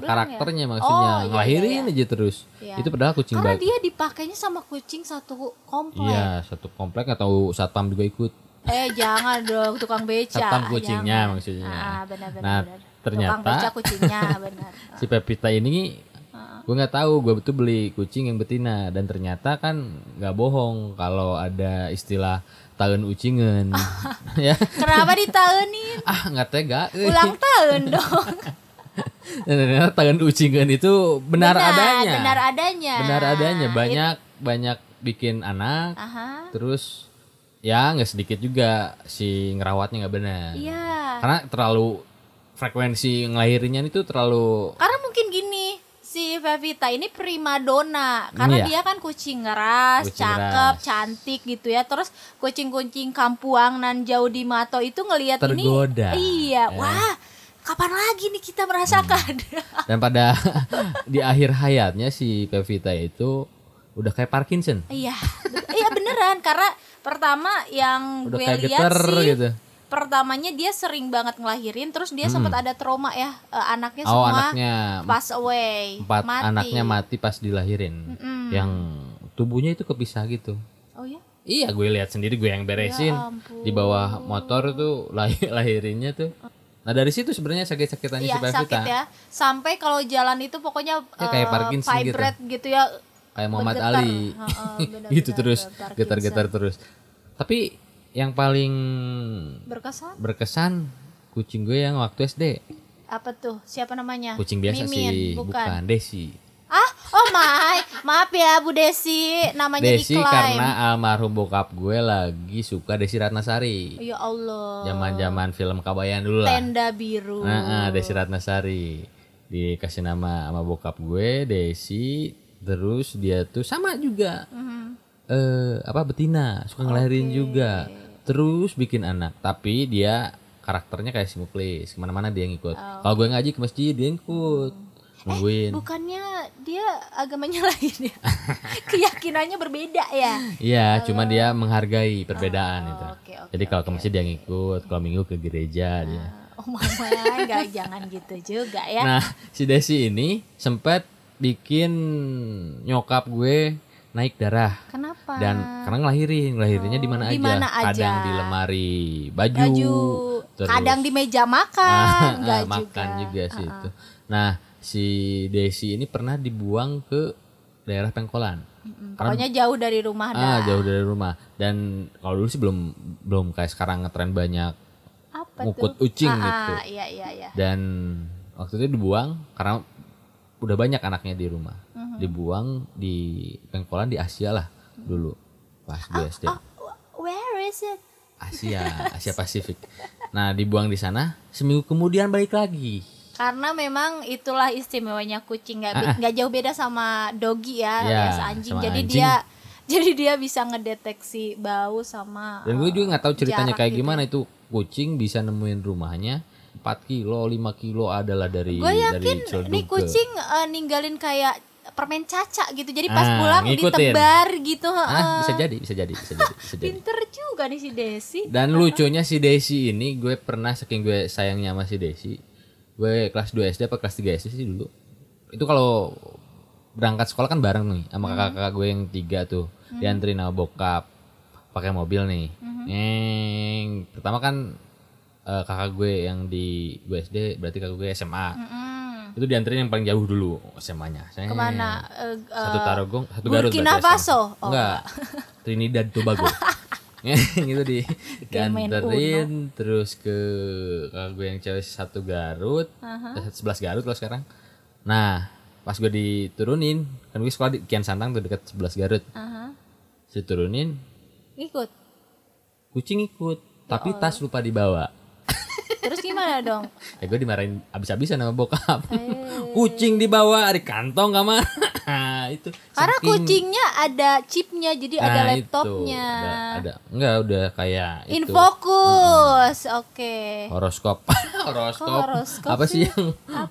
Speaker 1: Belang ya?
Speaker 2: karakternya maksudnya
Speaker 1: Oh, iya,
Speaker 2: ngelahirin
Speaker 1: iya,
Speaker 2: aja terus.
Speaker 1: Iya.
Speaker 2: Itu padahal kucing
Speaker 1: karena
Speaker 2: bag-
Speaker 1: dia dipakainya sama kucing satu komplek.
Speaker 2: Iya, satu komplek atau satpam juga ikut.
Speaker 1: Eh, jangan dong tukang beca.
Speaker 2: Satpam kucingnya
Speaker 1: jangan.
Speaker 2: maksudnya.
Speaker 1: Ah, benar-benar.
Speaker 2: Nah,
Speaker 1: benar.
Speaker 2: ternyata-
Speaker 1: tukang beca kucingnya benar.
Speaker 2: Si Pepita ini gue nggak tahu, gue betul beli kucing yang betina dan ternyata kan nggak bohong kalau ada istilah tahun ucingan. ya.
Speaker 1: Kenapa ditahunin?
Speaker 2: Ah, nggak tega. Eh,
Speaker 1: Ulang tahun dong.
Speaker 2: Dan ternyata tahun ucingan itu benar,
Speaker 1: Nah,
Speaker 2: adanya.
Speaker 1: Benar Iya, adanya.
Speaker 2: Benar adanya. Banyak banyak bikin anak
Speaker 1: Aha.
Speaker 2: terus ya nggak sedikit juga si ngerawatnya nggak benar.
Speaker 1: Iya.
Speaker 2: Karena terlalu frekuensi ngelahirinnya itu terlalu
Speaker 1: Karena mungkin gini, si Pevita ini primadona karena
Speaker 2: Iya.
Speaker 1: dia kan kucing ngeras,
Speaker 2: Kucing
Speaker 1: cakep,
Speaker 2: ngeras.
Speaker 1: cantik gitu ya. Terus kucing-kucing kampuang nan jauh di Mato itu ngelihat ini
Speaker 2: Tergoda.
Speaker 1: Iya, wah. Kapan lagi nih kita merasakan?
Speaker 2: Dan pada di akhir hayatnya si Pevita itu udah kayak Parkinson.
Speaker 1: Iya, be- iya beneran karena pertama yang
Speaker 2: Udah
Speaker 1: gue
Speaker 2: kayak
Speaker 1: lihat
Speaker 2: geter
Speaker 1: Iya, sih
Speaker 2: gitu. Hmm.
Speaker 1: pertamanya dia sering banget ngelahirin terus dia sempat ada trauma ya eh, anaknya
Speaker 2: Oh,
Speaker 1: semua
Speaker 2: anaknya
Speaker 1: pass away,
Speaker 2: empat
Speaker 1: mati.
Speaker 2: anaknya mati pas dilahirin. Yang tubuhnya itu kepisah gitu.
Speaker 1: Oh ya?
Speaker 2: Iya gue lihat sendiri gue yang beresin
Speaker 1: Ya ampun.
Speaker 2: di bawah motor tuh lahir lahirinnya tuh. Nah dari situ sebenarnya sakit-sakitannya
Speaker 1: Iya
Speaker 2: si Pevita.
Speaker 1: sakit ya. Sampai kalau jalan itu pokoknya
Speaker 2: Ya,
Speaker 1: eh,
Speaker 2: kayak Parkinson gitu.
Speaker 1: vibrate gitu. ya.
Speaker 2: Kayak Muhammad
Speaker 1: Bergetar.
Speaker 2: Ali.
Speaker 1: Heeh, benar-benar,
Speaker 2: gitu terus
Speaker 1: Parkinson.
Speaker 2: getar-getar terus. Tapi yang paling
Speaker 1: Berkesan.
Speaker 2: berkesan kucing gue yang waktu SD.
Speaker 1: Apa tuh? Siapa namanya?
Speaker 2: Kucing biasa sih,
Speaker 1: Mimin, bukan.
Speaker 2: Desi.
Speaker 1: Ah, oh my. Maaf ya Bu Desi, namanya
Speaker 2: Desi
Speaker 1: diklaim.
Speaker 2: karena almarhum bokap gue lagi suka Desi Ratnasari.
Speaker 1: Ya Allah.
Speaker 2: Zaman-zaman film Kabayan dulu lah.
Speaker 1: Tenda biru.
Speaker 2: Nah, ah, Desi Ratnasari dikasih nama sama bokap gue Desi terus dia tuh sama juga eh apa betina suka ngelahirin juga terus bikin anak tapi dia karakternya kayak si Muklis kemana-mana dia ngikut kalau gue ngaji ke masjid dia ngikut nungguin
Speaker 1: Bukannya dia agamanya lain ya? Keyakinannya berbeda ya?
Speaker 2: Iya, cuma dia menghargai perbedaan itu.
Speaker 1: Ah, oke, oke,
Speaker 2: Jadi kalau ke masjid dia ngikut, kalau minggu ke gereja dia.
Speaker 1: Oh mama, enggak jangan gitu juga ya.
Speaker 2: Nah, si Desi ini sempat bikin nyokap gue naik darah
Speaker 1: Kenapa?
Speaker 2: Nah, dan karena ngelahirin, ngelahirinnya di mana
Speaker 1: Ah. Oh, di
Speaker 2: aja?
Speaker 1: mana aja.
Speaker 2: Kadang di lemari baju,
Speaker 1: baju,
Speaker 2: terus-
Speaker 1: kadang di meja makan,
Speaker 2: Ah,
Speaker 1: enggak
Speaker 2: makan
Speaker 1: juga. Ah,
Speaker 2: juga, sih itu. Nah, si Desi ini pernah dibuang ke daerah Pengkolan. Karena
Speaker 1: Pokoknya jauh dari rumah dah.
Speaker 2: ah, jauh dari rumah. Dan kalau dulu sih belum belum kayak sekarang ngetren banyak
Speaker 1: Apa
Speaker 2: ngukut
Speaker 1: tuh?
Speaker 2: ucing
Speaker 1: Ah,
Speaker 2: gitu.
Speaker 1: ah, iya iya iya.
Speaker 2: Dan waktu itu dibuang karena udah banyak anaknya di rumah.
Speaker 1: Mhm.
Speaker 2: Dibuang di pengkolan di Asia lah dulu pas gue SD.
Speaker 1: Oh, wh- where is it?
Speaker 2: Asia, Asia Pasifik. Nah, dibuang di sana, seminggu kemudian balik lagi.
Speaker 1: Karena memang itulah istimewanya kucing nggak
Speaker 2: Ah, ah.
Speaker 1: be- nggak jauh beda sama doggy ya,
Speaker 2: Ya,
Speaker 1: alias anjing.
Speaker 2: sama
Speaker 1: Jadi
Speaker 2: anjing.
Speaker 1: dia jadi dia bisa ngedeteksi bau sama
Speaker 2: Dan gue juga nggak tahu ceritanya
Speaker 1: jarak
Speaker 2: kayak
Speaker 1: gitu.
Speaker 2: gimana itu kucing bisa nemuin rumahnya 4 kilo, 5 kilo adalah dari
Speaker 1: Gue
Speaker 2: dari
Speaker 1: yakin
Speaker 2: celduk
Speaker 1: nih
Speaker 2: ke-
Speaker 1: kucing eh, ninggalin kayak permen caca gitu. Jadi pas
Speaker 2: Ah,
Speaker 1: pulang
Speaker 2: ngikutin.
Speaker 1: ditebar gitu. heeh.
Speaker 2: Ah, bisa jadi, bisa jadi, bisa jadi, bisa jadi.
Speaker 1: Pinter juga nih si Desi.
Speaker 2: Dan lucunya si Desi ini gue pernah saking gue sayangnya sama si Desi. Gue kelas 2 SD apa kelas 3 SD sih dulu. Itu kalau berangkat sekolah kan bareng nih sama kakak-kakak gue yang tiga tuh. Dianterin sama bokap pakai mobil nih. Neng, pertama kan eh, kakak gue yang di gue SD berarti kakak gue SMA.
Speaker 1: Mm-mm.
Speaker 2: Itu dianterin yang paling jauh dulu SMA-nya.
Speaker 1: Kemana? Eh, eh,
Speaker 2: Satu Tarogong, satu Garut.
Speaker 1: Burkina
Speaker 2: berarti
Speaker 1: Faso.
Speaker 2: asal.
Speaker 1: Oh,
Speaker 2: Enggak. Trinidad Tobago. gitu di
Speaker 1: Kayak main
Speaker 2: dianterin terus ke kakak gue yang cewek satu Garut, eh, sebelas Garut kalau sekarang. Nah, pas gue diturunin, kan gue sekolah di Kian Santang tuh dekat sebelas Garut.
Speaker 1: eh, aha.
Speaker 2: Diturunin,
Speaker 1: Ikut.
Speaker 2: kucing ikut,
Speaker 1: Oh.
Speaker 2: tapi tas lupa dibawa.
Speaker 1: Terus gimana dong?
Speaker 2: Ya gue dimarahin abis-abisan sama bokap.
Speaker 1: Eh.
Speaker 2: kucing dibawa di kantong gak mah. itu.
Speaker 1: Karena
Speaker 2: saking-
Speaker 1: kucingnya ada chipnya, jadi ada
Speaker 2: Nah, itu.
Speaker 1: laptopnya.
Speaker 2: Ada, ada. Enggak udah kayak itu.
Speaker 1: Infokus, oke.
Speaker 2: horoskop. horoskop.
Speaker 1: Kok horoskop
Speaker 2: Apa sih yang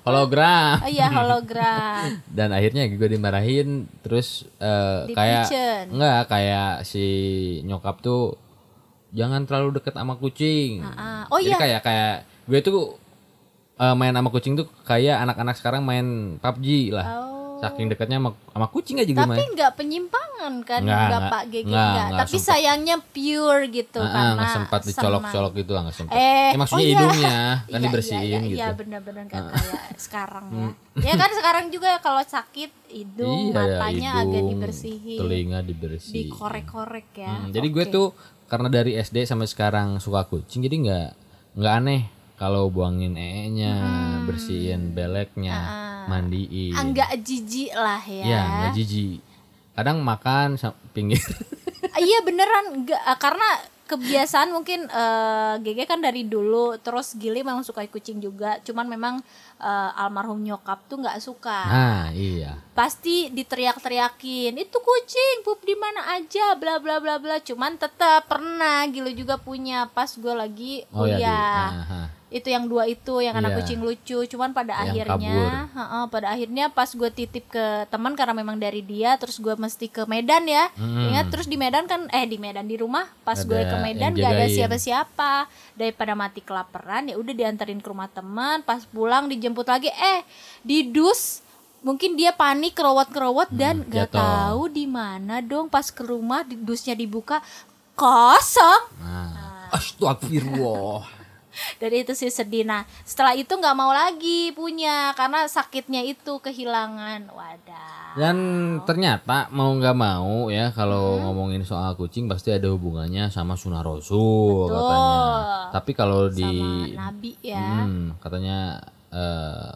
Speaker 2: hologram?
Speaker 1: Oh iya hologram.
Speaker 2: Dan akhirnya gue dimarahin terus eh,
Speaker 1: Di
Speaker 2: kayak
Speaker 1: pigeon.
Speaker 2: enggak kayak si nyokap tuh jangan terlalu deket sama kucing.
Speaker 1: Ah, oh
Speaker 2: Jadi
Speaker 1: iya.
Speaker 2: kayak kayak gue tuh eh, main sama kucing tuh kayak anak-anak sekarang main PUBG lah.
Speaker 1: Oh.
Speaker 2: Saking dekatnya sama, sama kucing aja gue
Speaker 1: Tapi
Speaker 2: main.
Speaker 1: nggak penyimpangan kan,
Speaker 2: ya? Nggak,
Speaker 1: nggak
Speaker 2: nggak.
Speaker 1: Pak GG
Speaker 2: Nggak,
Speaker 1: nggak.
Speaker 2: nggak
Speaker 1: Tapi
Speaker 2: sempat.
Speaker 1: sayangnya pure gitu
Speaker 2: Ah, ah,
Speaker 1: karena
Speaker 2: nggak sempat
Speaker 1: senang.
Speaker 2: dicolok-colok gitu ah, nggak sempat.
Speaker 1: Eh,
Speaker 2: Ya,
Speaker 1: oh
Speaker 2: maksudnya
Speaker 1: iya.
Speaker 2: hidungnya kan
Speaker 1: Iya,
Speaker 2: dibersihin
Speaker 1: iya, iya,
Speaker 2: gitu. Mm.
Speaker 1: Iya benar-benar nggak kayak sekarang ya. Ya kan sekarang juga ya kalau sakit hidung
Speaker 2: Iya,
Speaker 1: matanya agak
Speaker 2: hidung,
Speaker 1: dibersihin,
Speaker 2: Telinga dibersihin.
Speaker 1: dikorek-korek ya.
Speaker 2: Hmm, jadi gue
Speaker 1: Oke.
Speaker 2: tuh karena dari SD sampai sekarang suka kucing jadi nggak nggak aneh kalau buangin ee-nya, bersihin beleknya, mandiin.
Speaker 1: Hmm. Ah, nggak jijik lah ya.
Speaker 2: Ya, nggak jijik. Kadang makan sa- pinggir.
Speaker 1: Ah, Iya beneran nggak ah, karena kebiasaan mungkin eh, GG kan dari dulu terus Gili memang suka kucing juga cuman memang eh, almarhum nyokap tuh nggak suka
Speaker 2: Nah, iya.
Speaker 1: pasti diteriak-teriakin itu kucing pup di mana aja bla bla bla bla cuman tetap pernah Gili juga punya pas gue lagi
Speaker 2: Oh
Speaker 1: kuliah
Speaker 2: iya. Di, aha.
Speaker 1: itu yang dua itu yang anak
Speaker 2: Iya.
Speaker 1: kucing lucu cuman pada
Speaker 2: Yang
Speaker 1: akhirnya
Speaker 2: kabur.
Speaker 1: heeh, pada akhirnya pas gue titip ke teman karena memang dari dia terus gue mesti ke Medan ya
Speaker 2: Hmm.
Speaker 1: ingat terus di Medan kan eh di Medan di rumah pas
Speaker 2: Ada
Speaker 1: gue ke Medan
Speaker 2: yang
Speaker 1: gak ada
Speaker 2: jagain.
Speaker 1: siapa-siapa daripada mati kelaparan ya udah dianterin ke rumah teman pas pulang dijemput lagi eh di dus mungkin dia panik kerowat-kerowat
Speaker 2: Hmm,
Speaker 1: dan nggak
Speaker 2: jatuh.
Speaker 1: tahu di mana dong pas ke rumah di- dusnya dibuka kosong Ah.
Speaker 2: Nah, astagfirullah.
Speaker 1: dan itu sih sedih nah setelah itu nggak mau lagi punya karena sakitnya itu kehilangan wadah
Speaker 2: Dan ternyata mau nggak mau ya kalau ngomongin soal kucing pasti ada hubungannya sama sunnah rasul
Speaker 1: Betul.
Speaker 2: katanya. Tapi kalau di
Speaker 1: sama nabi ya
Speaker 2: Hmm, katanya eh,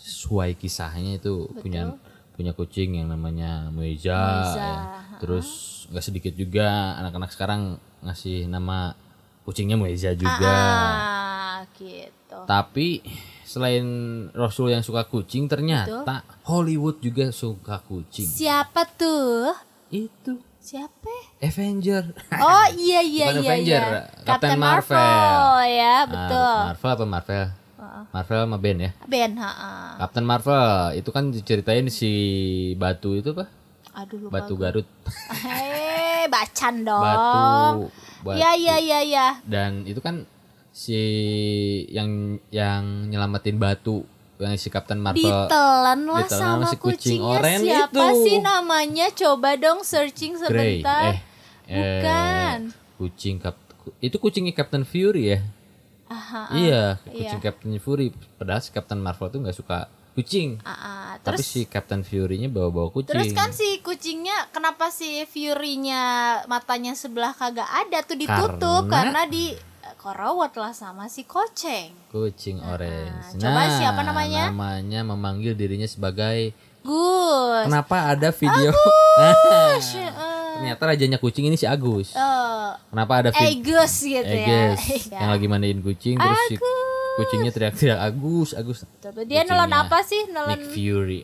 Speaker 2: sesuai kisahnya itu punya punya kucing yang namanya Muiza.
Speaker 1: Muiza,
Speaker 2: ya. Terus nggak sedikit juga anak-anak sekarang ngasih nama kucingnya Muiza juga.
Speaker 1: ah gitu
Speaker 2: Tapi selain Rasul yang suka kucing, ternyata Hollywood juga suka kucing.
Speaker 1: siapa tuh
Speaker 2: Itu
Speaker 1: siapa
Speaker 2: Avenger.
Speaker 1: Oh iya iya
Speaker 2: Bukan
Speaker 1: iya.
Speaker 2: Avenger,
Speaker 1: iya.
Speaker 2: Captain
Speaker 1: Captain
Speaker 2: Marvel.
Speaker 1: Marvel. ya,
Speaker 2: Ah,
Speaker 1: betul.
Speaker 2: Marvel apa Marvel? Marvel sama Ben ya.
Speaker 1: Ben, heeh.
Speaker 2: Captain Marvel itu kan diceritain si batu itu apa?
Speaker 1: Aduh lupa.
Speaker 2: Batu Garut.
Speaker 1: Eh, bacan dong.
Speaker 2: Batu. batu.
Speaker 1: Iya iya iya iya.
Speaker 2: Dan itu kan si yang yang nyelamatin batu yang si Captain Marvel.
Speaker 1: Ditelan lah
Speaker 2: Ditelan
Speaker 1: sama
Speaker 2: sama si kucing
Speaker 1: kucingnya
Speaker 2: oranye
Speaker 1: siapa
Speaker 2: itu.
Speaker 1: sih namanya? Coba dong searching
Speaker 2: Grey.
Speaker 1: sebentar.
Speaker 2: Eh, eh,
Speaker 1: Bukan.
Speaker 2: kucing Cap ku- itu kucingnya Captain Fury ya?
Speaker 1: Aha. ah,
Speaker 2: iya, kucing Captain Fury. Padahal si Captain Marvel tuh nggak suka kucing.
Speaker 1: ah,
Speaker 2: Tapi
Speaker 1: Terus
Speaker 2: si Captain Fury-nya bawa-bawa kucing.
Speaker 1: Terus kan si kucingnya kenapa si Fury-nya matanya sebelah kagak ada tuh ditutup
Speaker 2: Karena-
Speaker 1: karena, di eh, korowat lah sama si koceng.
Speaker 2: kucing
Speaker 1: Ah,
Speaker 2: orange. Nah,
Speaker 1: coba siapa namanya?
Speaker 2: Namanya memanggil dirinya sebagai
Speaker 1: Gus.
Speaker 2: Kenapa ada video? Nah.
Speaker 1: Eh, eh,
Speaker 2: Ternyata rajanya kucing ini si Agus.
Speaker 1: eh,
Speaker 2: Kenapa ada
Speaker 1: eh,
Speaker 2: video
Speaker 1: Gus gitu ya.
Speaker 2: yang lagi mandiin kucing terus si kucingnya teriak-teriak Agus, Agus.
Speaker 1: Tapi dia nelan
Speaker 2: Kucingnya
Speaker 1: apa sih? Nelan
Speaker 2: Nick Fury.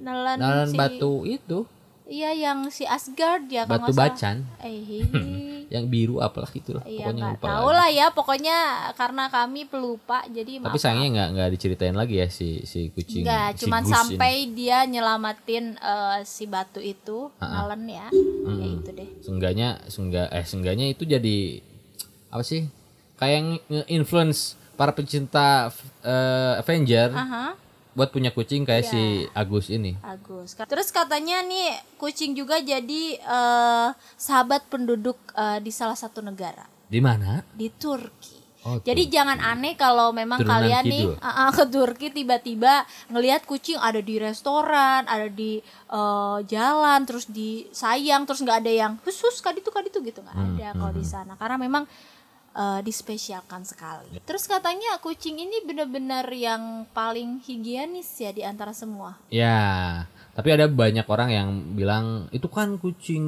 Speaker 1: nelan,
Speaker 2: Nalan
Speaker 1: si
Speaker 2: batu itu,
Speaker 1: Iya yang si Asgard ya kalau
Speaker 2: batu
Speaker 1: nggak salah.
Speaker 2: bacan
Speaker 1: Eh,
Speaker 2: yang biru apalah gitu lah.
Speaker 1: Iya
Speaker 2: Pokoknya
Speaker 1: nggak
Speaker 2: lupa.
Speaker 1: tahu
Speaker 2: lagi.
Speaker 1: lah ya pokoknya karena kami pelupa jadi
Speaker 2: Tapi
Speaker 1: maaf
Speaker 2: sayangnya nggak nggak diceritain lagi ya si si kucing.
Speaker 1: nggak
Speaker 2: si
Speaker 1: cuman
Speaker 2: Gus ini.
Speaker 1: sampai dia nyelamatin eh, si batu itu nelen ya ya itu deh
Speaker 2: seenggaknya seenggak eh seenggaknya itu jadi apa sih kayak nge- nge-influence para pecinta eh, Avenger
Speaker 1: Aha.
Speaker 2: buat punya kucing kayak si
Speaker 1: Iya.
Speaker 2: Agus ini
Speaker 1: Agus. Terus katanya nih kucing juga jadi eh, sahabat penduduk eh, di salah satu negara
Speaker 2: di mana
Speaker 1: di Turki.
Speaker 2: Oh,
Speaker 1: jadi jangan aneh kalau memang
Speaker 2: Turunan
Speaker 1: kalian
Speaker 2: kidul.
Speaker 1: nih ah, ah, ke Turki tiba-tiba ngelihat kucing ada di restoran, ada di eh, jalan, terus disayang, terus nggak ada yang khusus kaditu kaditu gitu nggak
Speaker 2: Hmm,
Speaker 1: ada kalau di sana karena memang eh, dispesialkan
Speaker 2: Ya.
Speaker 1: sekali. Terus katanya kucing ini benar-benar yang paling higienis ya di antara semua.
Speaker 2: ya tapi ada banyak orang yang bilang itu kan kucing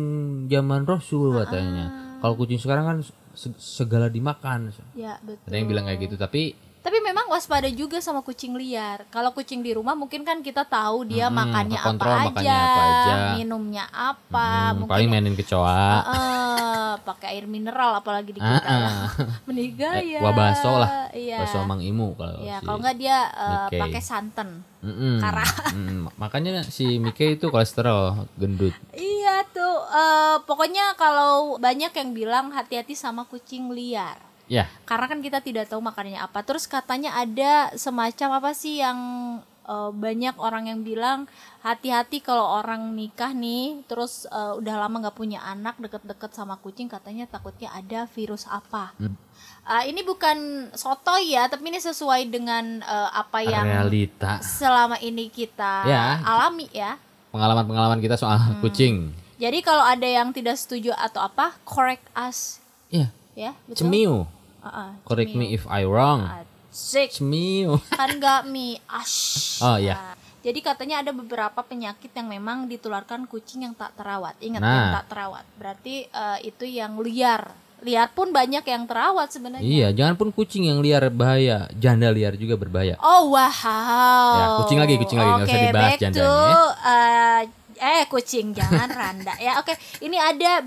Speaker 2: zaman Rasul
Speaker 1: Ah.
Speaker 2: katanya kalau kucing sekarang kan se- segala dimakan
Speaker 1: Ya betul.
Speaker 2: ada yang bilang kayak gitu tapi
Speaker 1: Tapi memang waspada juga sama kucing liar. Kalau kucing di rumah mungkin kan kita tahu dia
Speaker 2: Mm-mm,
Speaker 1: makannya, apa
Speaker 2: kekontrol
Speaker 1: aja,
Speaker 2: Hmm, makannya apa aja.
Speaker 1: minumnya apa,
Speaker 2: hmm,
Speaker 1: Ah, mungkin
Speaker 2: paling mainin kecoa
Speaker 1: eh, pakai air mineral apalagi di kita.
Speaker 2: Ah, ah.
Speaker 1: Meninggal
Speaker 2: Eh,
Speaker 1: ya.
Speaker 2: kuah baso lah.
Speaker 1: Iya.
Speaker 2: bakso Mang Imu kalau
Speaker 1: Iya,
Speaker 2: si-
Speaker 1: kalau nggak dia eh,
Speaker 2: Nikkei.
Speaker 1: pakai santan.
Speaker 2: Mm-mm. Mm-mm. Makanya si Mike itu kolesterol gendut.
Speaker 1: Iya tuh. eh, pokoknya kalau banyak yang bilang hati-hati sama kucing liar.
Speaker 2: Ya,
Speaker 1: karena kan kita tidak tahu makanannya apa terus katanya ada semacam apa sih yang eh, banyak orang yang bilang hati-hati kalau orang nikah ih, terus eh, udah lama nggak punya anak deket-deket sama kucing katanya takutnya ada virus apa Ah, ini bukan sotoy ya tapi ini sesuai dengan eh, apa yang
Speaker 2: realita.
Speaker 1: selama ini kita
Speaker 2: Ya.
Speaker 1: alami ya
Speaker 2: Pengalaman-pengalaman kita soal
Speaker 1: Hmm.
Speaker 2: kucing.
Speaker 1: jadi kalau ada yang tidak setuju atau apa correct us
Speaker 2: Ya,
Speaker 1: ya betul
Speaker 2: cemiu.
Speaker 1: Ah, ah,
Speaker 2: Correct
Speaker 1: cemiu. Ah.
Speaker 2: me if I wrong.
Speaker 1: Asik.
Speaker 2: Cemiu.
Speaker 1: kan nggak mie ash
Speaker 2: Oh, iya.
Speaker 1: Nah, jadi katanya ada beberapa penyakit yang memang ditularkan kucing yang tak terawat ingat
Speaker 2: Nah.
Speaker 1: yang tak terawat berarti eh, itu yang liar liar pun banyak yang terawat sebenarnya
Speaker 2: Iya, jangan pun kucing yang liar bahaya, janda liar juga berbahaya.
Speaker 1: oh wow
Speaker 2: Ya, kucing lagi, kucing lagi. Nggak
Speaker 1: Oke,
Speaker 2: usah dibahas ya.
Speaker 1: back
Speaker 2: jandanya,
Speaker 1: to, eh eh, kucing jangan randa ya oke ini ada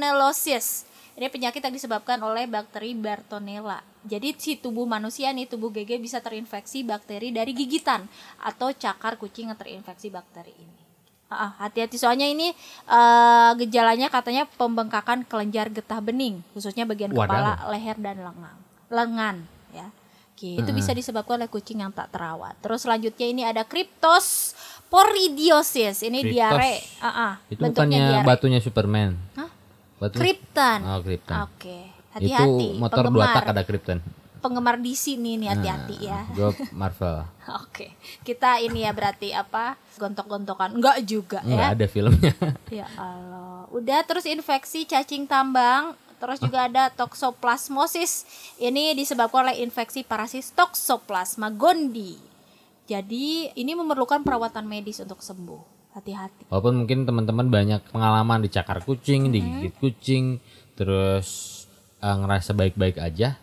Speaker 1: bartonellosis ini penyakit yang disebabkan oleh bakteri Bartonella. Jadi si tubuh manusia nih, tubuh GG bisa terinfeksi bakteri dari gigitan atau cakar kucing yang terinfeksi bakteri ini. Ah, ah, hati-hati soalnya ini eh, gejalanya katanya pembengkakan kelenjar getah bening, khususnya bagian
Speaker 2: Waduh.
Speaker 1: kepala, leher dan lengan. Lengan ya. Oke, itu bisa disebabkan oleh kucing yang tak terawat. Terus selanjutnya ini ada Cryptos Poridiosis ini
Speaker 2: Kriptos.
Speaker 1: diare. Ah, ah.
Speaker 2: Itu
Speaker 1: bentuknya
Speaker 2: bukannya
Speaker 1: diare.
Speaker 2: batunya Superman.
Speaker 1: Hah?
Speaker 2: Batu.
Speaker 1: Krypton.
Speaker 2: Oh, Krypton.
Speaker 1: Oke.
Speaker 2: itu
Speaker 1: Hati-hati.
Speaker 2: motor
Speaker 1: penggemar,
Speaker 2: dua tak ada Nah. Krypton.
Speaker 1: penggemar di sini nih hati-hati ya.
Speaker 2: Gue Marvel.
Speaker 1: Oke. Kita ini ya berarti apa? Gontok-gontokan. Enggak juga ya.
Speaker 2: Enggak ada filmnya.
Speaker 1: Ya Allah. Udah terus infeksi cacing tambang, terus juga ada toxoplasmosis. Ini disebabkan oleh infeksi parasit Toxoplasma gondii. Jadi ini memerlukan perawatan medis untuk sembuh. Hati-hati.
Speaker 2: Walaupun mungkin teman-teman banyak pengalaman dicakar kucing,
Speaker 1: Mm-hmm.
Speaker 2: digigit kucing, terus eh, ngerasa baik-baik aja,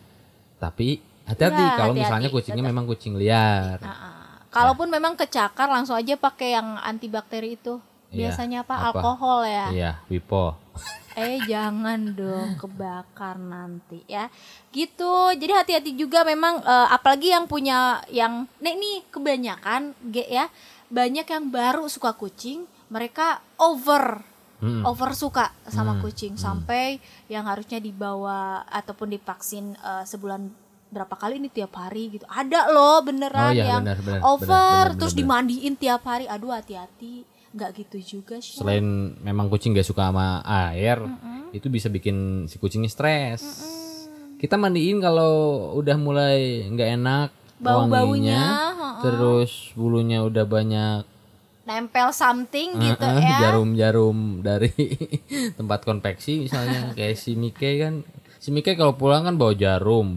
Speaker 2: tapi hati-hati
Speaker 1: Ya,
Speaker 2: kalau
Speaker 1: hati-hati,
Speaker 2: misalnya kucingnya memang kucing liar.
Speaker 1: Ah, Kalaupun
Speaker 2: Ya.
Speaker 1: memang kecakar langsung aja pakai yang antibakteri itu.
Speaker 2: Iya,
Speaker 1: Biasanya apa?
Speaker 2: apa?
Speaker 1: Alkohol ya.
Speaker 2: Iya, Wipo.
Speaker 1: Eh jangan dong kebakar nanti ya. Gitu. Jadi hati-hati juga memang eh, apalagi yang punya yang nih nih kebanyakan G ya. Banyak yang baru suka kucing, mereka over
Speaker 2: Mm-mm.
Speaker 1: over suka sama
Speaker 2: Hmm,
Speaker 1: kucing sampai yang harusnya dibawa ataupun divaksin eh, sebulan berapa kali ini tiap hari gitu. Ada loh beneran
Speaker 2: Oh, iya,
Speaker 1: yang
Speaker 2: benar, benar,
Speaker 1: over
Speaker 2: benar, benar,
Speaker 1: terus
Speaker 2: benar.
Speaker 1: dimandiin tiap hari. Aduh hati-hati. nggak gitu juga sih.
Speaker 2: Selain memang kucing gak suka sama air, itu bisa bikin si kucingnya stres. Kita mandiin kalau udah mulai nggak enak
Speaker 1: Bau-baunya,
Speaker 2: wanginya, terus bulunya udah banyak
Speaker 1: nempel something gitu
Speaker 2: Heeh,
Speaker 1: ya.
Speaker 2: jarum-jarum dari tempat konveksi misalnya kayak si Mike kan si Mike kalau pulang kan bawa jarum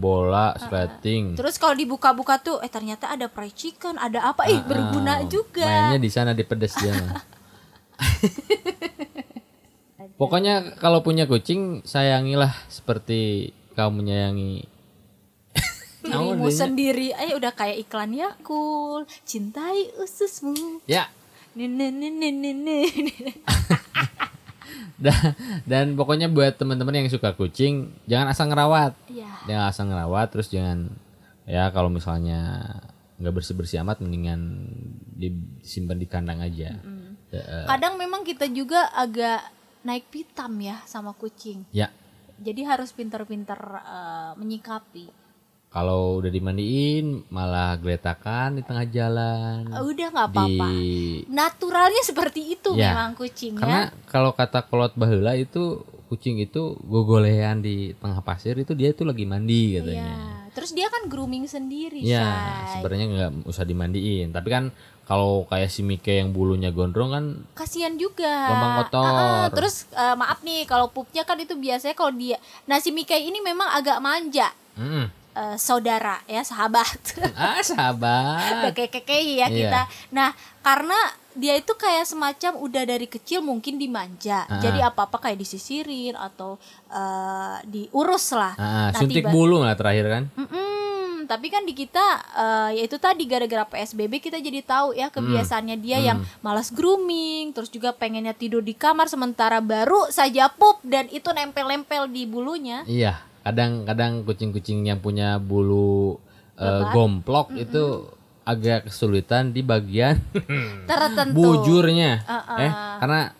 Speaker 1: Ah,
Speaker 2: bola sleting
Speaker 1: Terus kalau dibuka-buka tuh eh ternyata ada fried chicken, ada apa? Ih, berguna
Speaker 2: Ah,
Speaker 1: juga.
Speaker 2: mainnya di sana di pedes dia mah. pokoknya kalau punya kucing sayangilah seperti kamu menyayangi
Speaker 1: Dirimu
Speaker 2: Naon,
Speaker 1: sendiri. Eh udah kayak iklan Yakul. Cintai ususmu.
Speaker 2: ya
Speaker 1: Nih, nih, nih, nih, nih, nih.
Speaker 2: dan, dan pokoknya buat teman-teman yang suka kucing jangan asal ngerawat
Speaker 1: Ya,
Speaker 2: jangan asal ngerawat terus jangan ya kalau misalnya nggak bersih bersih amat mendingan disimpan di kandang aja Ya, eh,
Speaker 1: kadang memang kita juga agak naik pitam ya sama kucing.
Speaker 2: ya
Speaker 1: Jadi harus pintar-pintar eh, menyikapi.
Speaker 2: kalau udah dimandiin malah geletakan di tengah jalan
Speaker 1: Eh, Udah nggak
Speaker 2: Hmm. di
Speaker 1: apa-apa. Naturalnya seperti itu
Speaker 2: Ya.
Speaker 1: memang kucing ya.
Speaker 2: karena kalau kata kolot baheula itu kucing itu gogolehan di tengah pasir itu dia itu lagi
Speaker 1: Iya.
Speaker 2: mandi katanya
Speaker 1: Terus dia kan grooming sendiri,
Speaker 2: ya
Speaker 1: Shay.
Speaker 2: sebenarnya nggak usah dimandiin tapi kan kalau kayak si Mike yang bulunya gondrong kan
Speaker 1: kasihan juga.
Speaker 2: Gampang kotor.
Speaker 1: Ah, ah. terus eh, maaf nih kalau pupnya kan itu biasanya kalau dia nasi Mikai ini memang agak manja.
Speaker 2: mm,
Speaker 1: Eh, saudara ya sahabat
Speaker 2: ah sahabat
Speaker 1: udah kekekei ya
Speaker 2: Iya.
Speaker 1: kita nah karena dia itu kayak semacam udah dari kecil mungkin dimanja
Speaker 2: Ah.
Speaker 1: jadi apa apa kayak disisirin atau eh, diurus lah
Speaker 2: Ah,
Speaker 1: Nah,
Speaker 2: suntik
Speaker 1: tiba-
Speaker 2: bulu lah terakhir kan.
Speaker 1: Mm-mm, tapi kan di kita eh, ya itu tadi gara-gara PSBB kita jadi tahu ya kebiasaannya dia yang
Speaker 2: Mm.
Speaker 1: malas grooming, terus juga pengennya tidur di kamar sementara baru saja pup dan itu nempel-nempel di bulunya.
Speaker 2: Iya, kadang-kadang kucing-kucing yang punya bulu eh, gomplok itu agak kesulitan di bagian Mm.
Speaker 1: Tertentu.
Speaker 2: bujurnya.
Speaker 1: Uh-uh.
Speaker 2: Eh, karena ya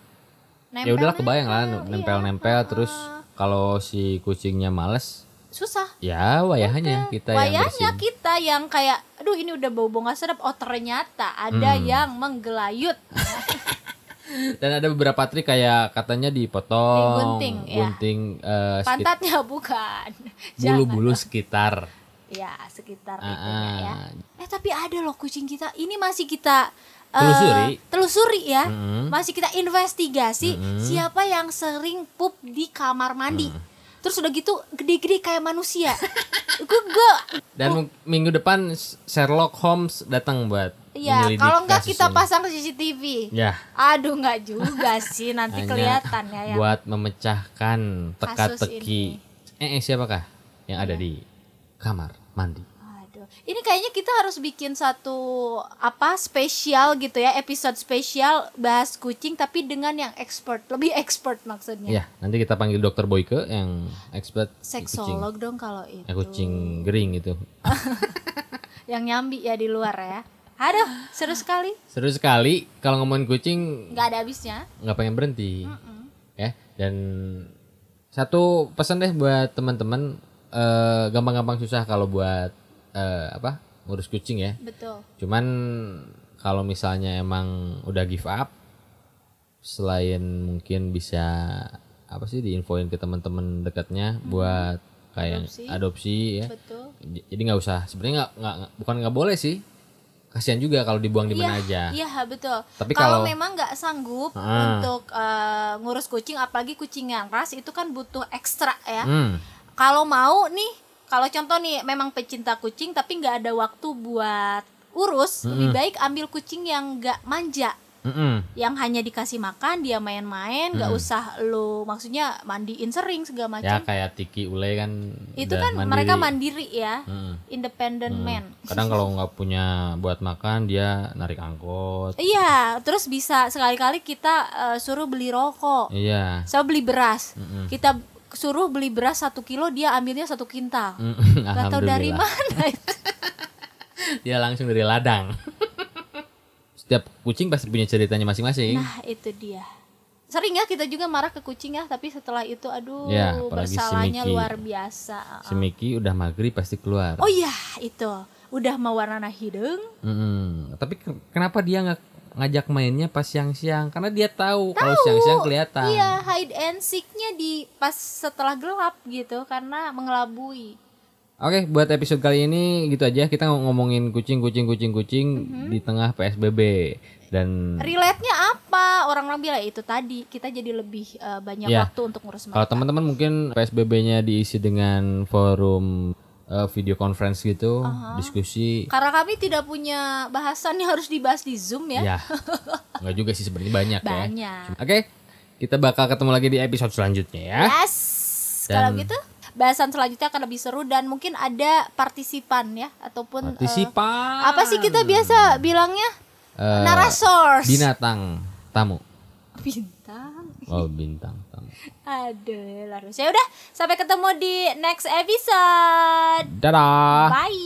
Speaker 1: Nempel- kan?
Speaker 2: udahlah kebayang lah
Speaker 1: nempel,
Speaker 2: nempel-nempel
Speaker 1: iya,
Speaker 2: terus kalau si kucingnya males
Speaker 1: Susah.
Speaker 2: ya wayahannya kita yang
Speaker 1: Wayangnya
Speaker 2: bersihin.
Speaker 1: kita yang kayak aduh ini udah bau bau nggak sedap. Oh, ternyata ada
Speaker 2: Mm.
Speaker 1: yang menggelayut.
Speaker 2: Dan ada beberapa trik kayak katanya dipotong,
Speaker 1: Digunting, ya.
Speaker 2: gunting, eh, sekit-
Speaker 1: Pantatnya bukan. Jangan.
Speaker 2: bulu-bulu sekitar.
Speaker 1: Ya, sekitar itu
Speaker 2: Ah,
Speaker 1: ya.
Speaker 2: ah.
Speaker 1: Eh tapi ada loh kucing kita. Ini masih kita eh,
Speaker 2: Telusuri.
Speaker 1: telusuri ya.
Speaker 2: Mm-mm.
Speaker 1: Masih kita investigasi siapa yang sering pup di kamar mandi. Terus udah gitu gede-gede kayak manusia. Gue gue
Speaker 2: Dan
Speaker 1: Oh.
Speaker 2: mung- minggu depan S- Sherlock Holmes datang buat
Speaker 1: ya
Speaker 2: menyelidik
Speaker 1: kalau nggak
Speaker 2: kasus
Speaker 1: kita
Speaker 2: ini.
Speaker 1: pasang CCTV.
Speaker 2: ya
Speaker 1: Aduh nggak juga sih nanti
Speaker 2: hanya
Speaker 1: kelihatan ya yang
Speaker 2: buat memecahkan teka-teki. Eh, eh, siapakah yang
Speaker 1: Iya.
Speaker 2: ada di kamar mandi?
Speaker 1: Aduh, ini kayaknya kita harus bikin satu apa spesial gitu ya, episode spesial bahas kucing tapi dengan yang expert, lebih expert maksudnya.
Speaker 2: Ya, nanti kita panggil dokter Boyke yang expert kucing.
Speaker 1: Seksolog dong kalau itu.
Speaker 2: Ya, kucing gering gitu.
Speaker 1: Yang nyambi ya di luar ya. Aduh, seru sekali.
Speaker 2: Seru sekali kalau ngomongin kucing
Speaker 1: nggak ada habisnya.
Speaker 2: nggak pengen berhenti. Ya, dan satu pesan deh buat teman-teman eh, gampang-gampang susah kalau buat eh, apa? ngurus kucing ya.
Speaker 1: Betul.
Speaker 2: Cuman kalau misalnya emang udah give up selain mungkin bisa apa sih diinfoin ke teman-teman dekatnya buat kayak
Speaker 1: Adopsi.
Speaker 2: adopsi, ya
Speaker 1: betul
Speaker 2: J- jadi nggak usah sebenarnya nggak nggak nggak- bukan nggak boleh sih kasihan juga kalau dibuang di mana aja
Speaker 1: Iya betul.
Speaker 2: Ya. Tapi
Speaker 1: kalau
Speaker 2: kalau-
Speaker 1: memang nggak sanggup
Speaker 2: Ah.
Speaker 1: untuk eh, ngurus kucing, apalagi kucingan ras itu kan butuh ekstra ya.
Speaker 2: Hmm,
Speaker 1: Kalau mau nih, kalau contoh nih memang pecinta kucing tapi nggak ada waktu buat urus,
Speaker 2: Hmm.
Speaker 1: lebih baik ambil kucing yang nggak manja,
Speaker 2: mm-mm.
Speaker 1: yang hanya dikasih makan dia main-main, nggak usah lo maksudnya mandiin sering segala
Speaker 2: Hmm. ya
Speaker 1: macam.
Speaker 2: kayak Tiki Ule kan
Speaker 1: itu
Speaker 2: udah
Speaker 1: kan mereka
Speaker 2: mandiri.
Speaker 1: mandiri ya,
Speaker 2: Mm-mm.
Speaker 1: independent man.
Speaker 2: Hmm. kadang kalau nggak punya buat makan dia narik angkot
Speaker 1: Iya, terus bisa sekali-kali kita eh, suruh beli rokok.
Speaker 2: iya
Speaker 1: saya beli beras kita suruh beli beras satu kilo dia ambilnya satu kintal
Speaker 2: Mm,
Speaker 1: nggak tahu dari
Speaker 2: alhamdulillah.
Speaker 1: mana itu
Speaker 2: dia langsung dari ladang setiap kucing pasti punya ceritanya masing-masing
Speaker 1: nah itu dia sering ya kita juga marah ke kucing ya tapi setelah itu aduh
Speaker 2: Ya, apalagi si
Speaker 1: bersalahnya
Speaker 2: Mickey.
Speaker 1: luar biasa
Speaker 2: si Miki udah maghrib pasti keluar
Speaker 1: Nah. oh iya itu udah mewarna hidung
Speaker 2: Mm-mm. tapi ke- kenapa dia nggak ngajak mainnya pas siang-siang karena dia tahu kalau siang-siang kelihatan
Speaker 1: iya hide and seeknya di pas setelah gelap gitu karena mengelabui
Speaker 2: Oke, buat episode kali ini gitu aja. Kita ngomongin kucing, kucing, kucing, kucing
Speaker 1: Mm-hmm.
Speaker 2: di tengah PSBB
Speaker 1: Eh,
Speaker 2: dan
Speaker 1: relate-nya apa orang-orang bilang "Ya, itu tadi kita jadi lebih eh, banyak
Speaker 2: Ya.
Speaker 1: waktu untuk ngurus mereka
Speaker 2: Kalau teman-teman mungkin PSBB-nya diisi dengan forum eh, video conference gitu, diskusi.
Speaker 1: Karena kami tidak punya bahasan yang harus dibahas di Zoom ya.
Speaker 2: Ya. Enggak juga sih sebenarnya banyak, ya.
Speaker 1: Banyak.
Speaker 2: Oke, kita bakal ketemu lagi di episode selanjutnya ya.
Speaker 1: Yes.
Speaker 2: Dan-
Speaker 1: Kalau gitu bahasan selanjutnya akan lebih seru dan mungkin ada partisipan ya ataupun eh,
Speaker 2: Partisipan.
Speaker 1: apa sih kita biasa bilangnya?
Speaker 2: Eh,
Speaker 1: Narasors.
Speaker 2: Binatang tamu.
Speaker 1: Bintang.
Speaker 2: Oh, bintang tamu.
Speaker 1: Aduh, lalu. Ya udah, sampai ketemu di next episode.
Speaker 2: Dadah.
Speaker 1: Bye.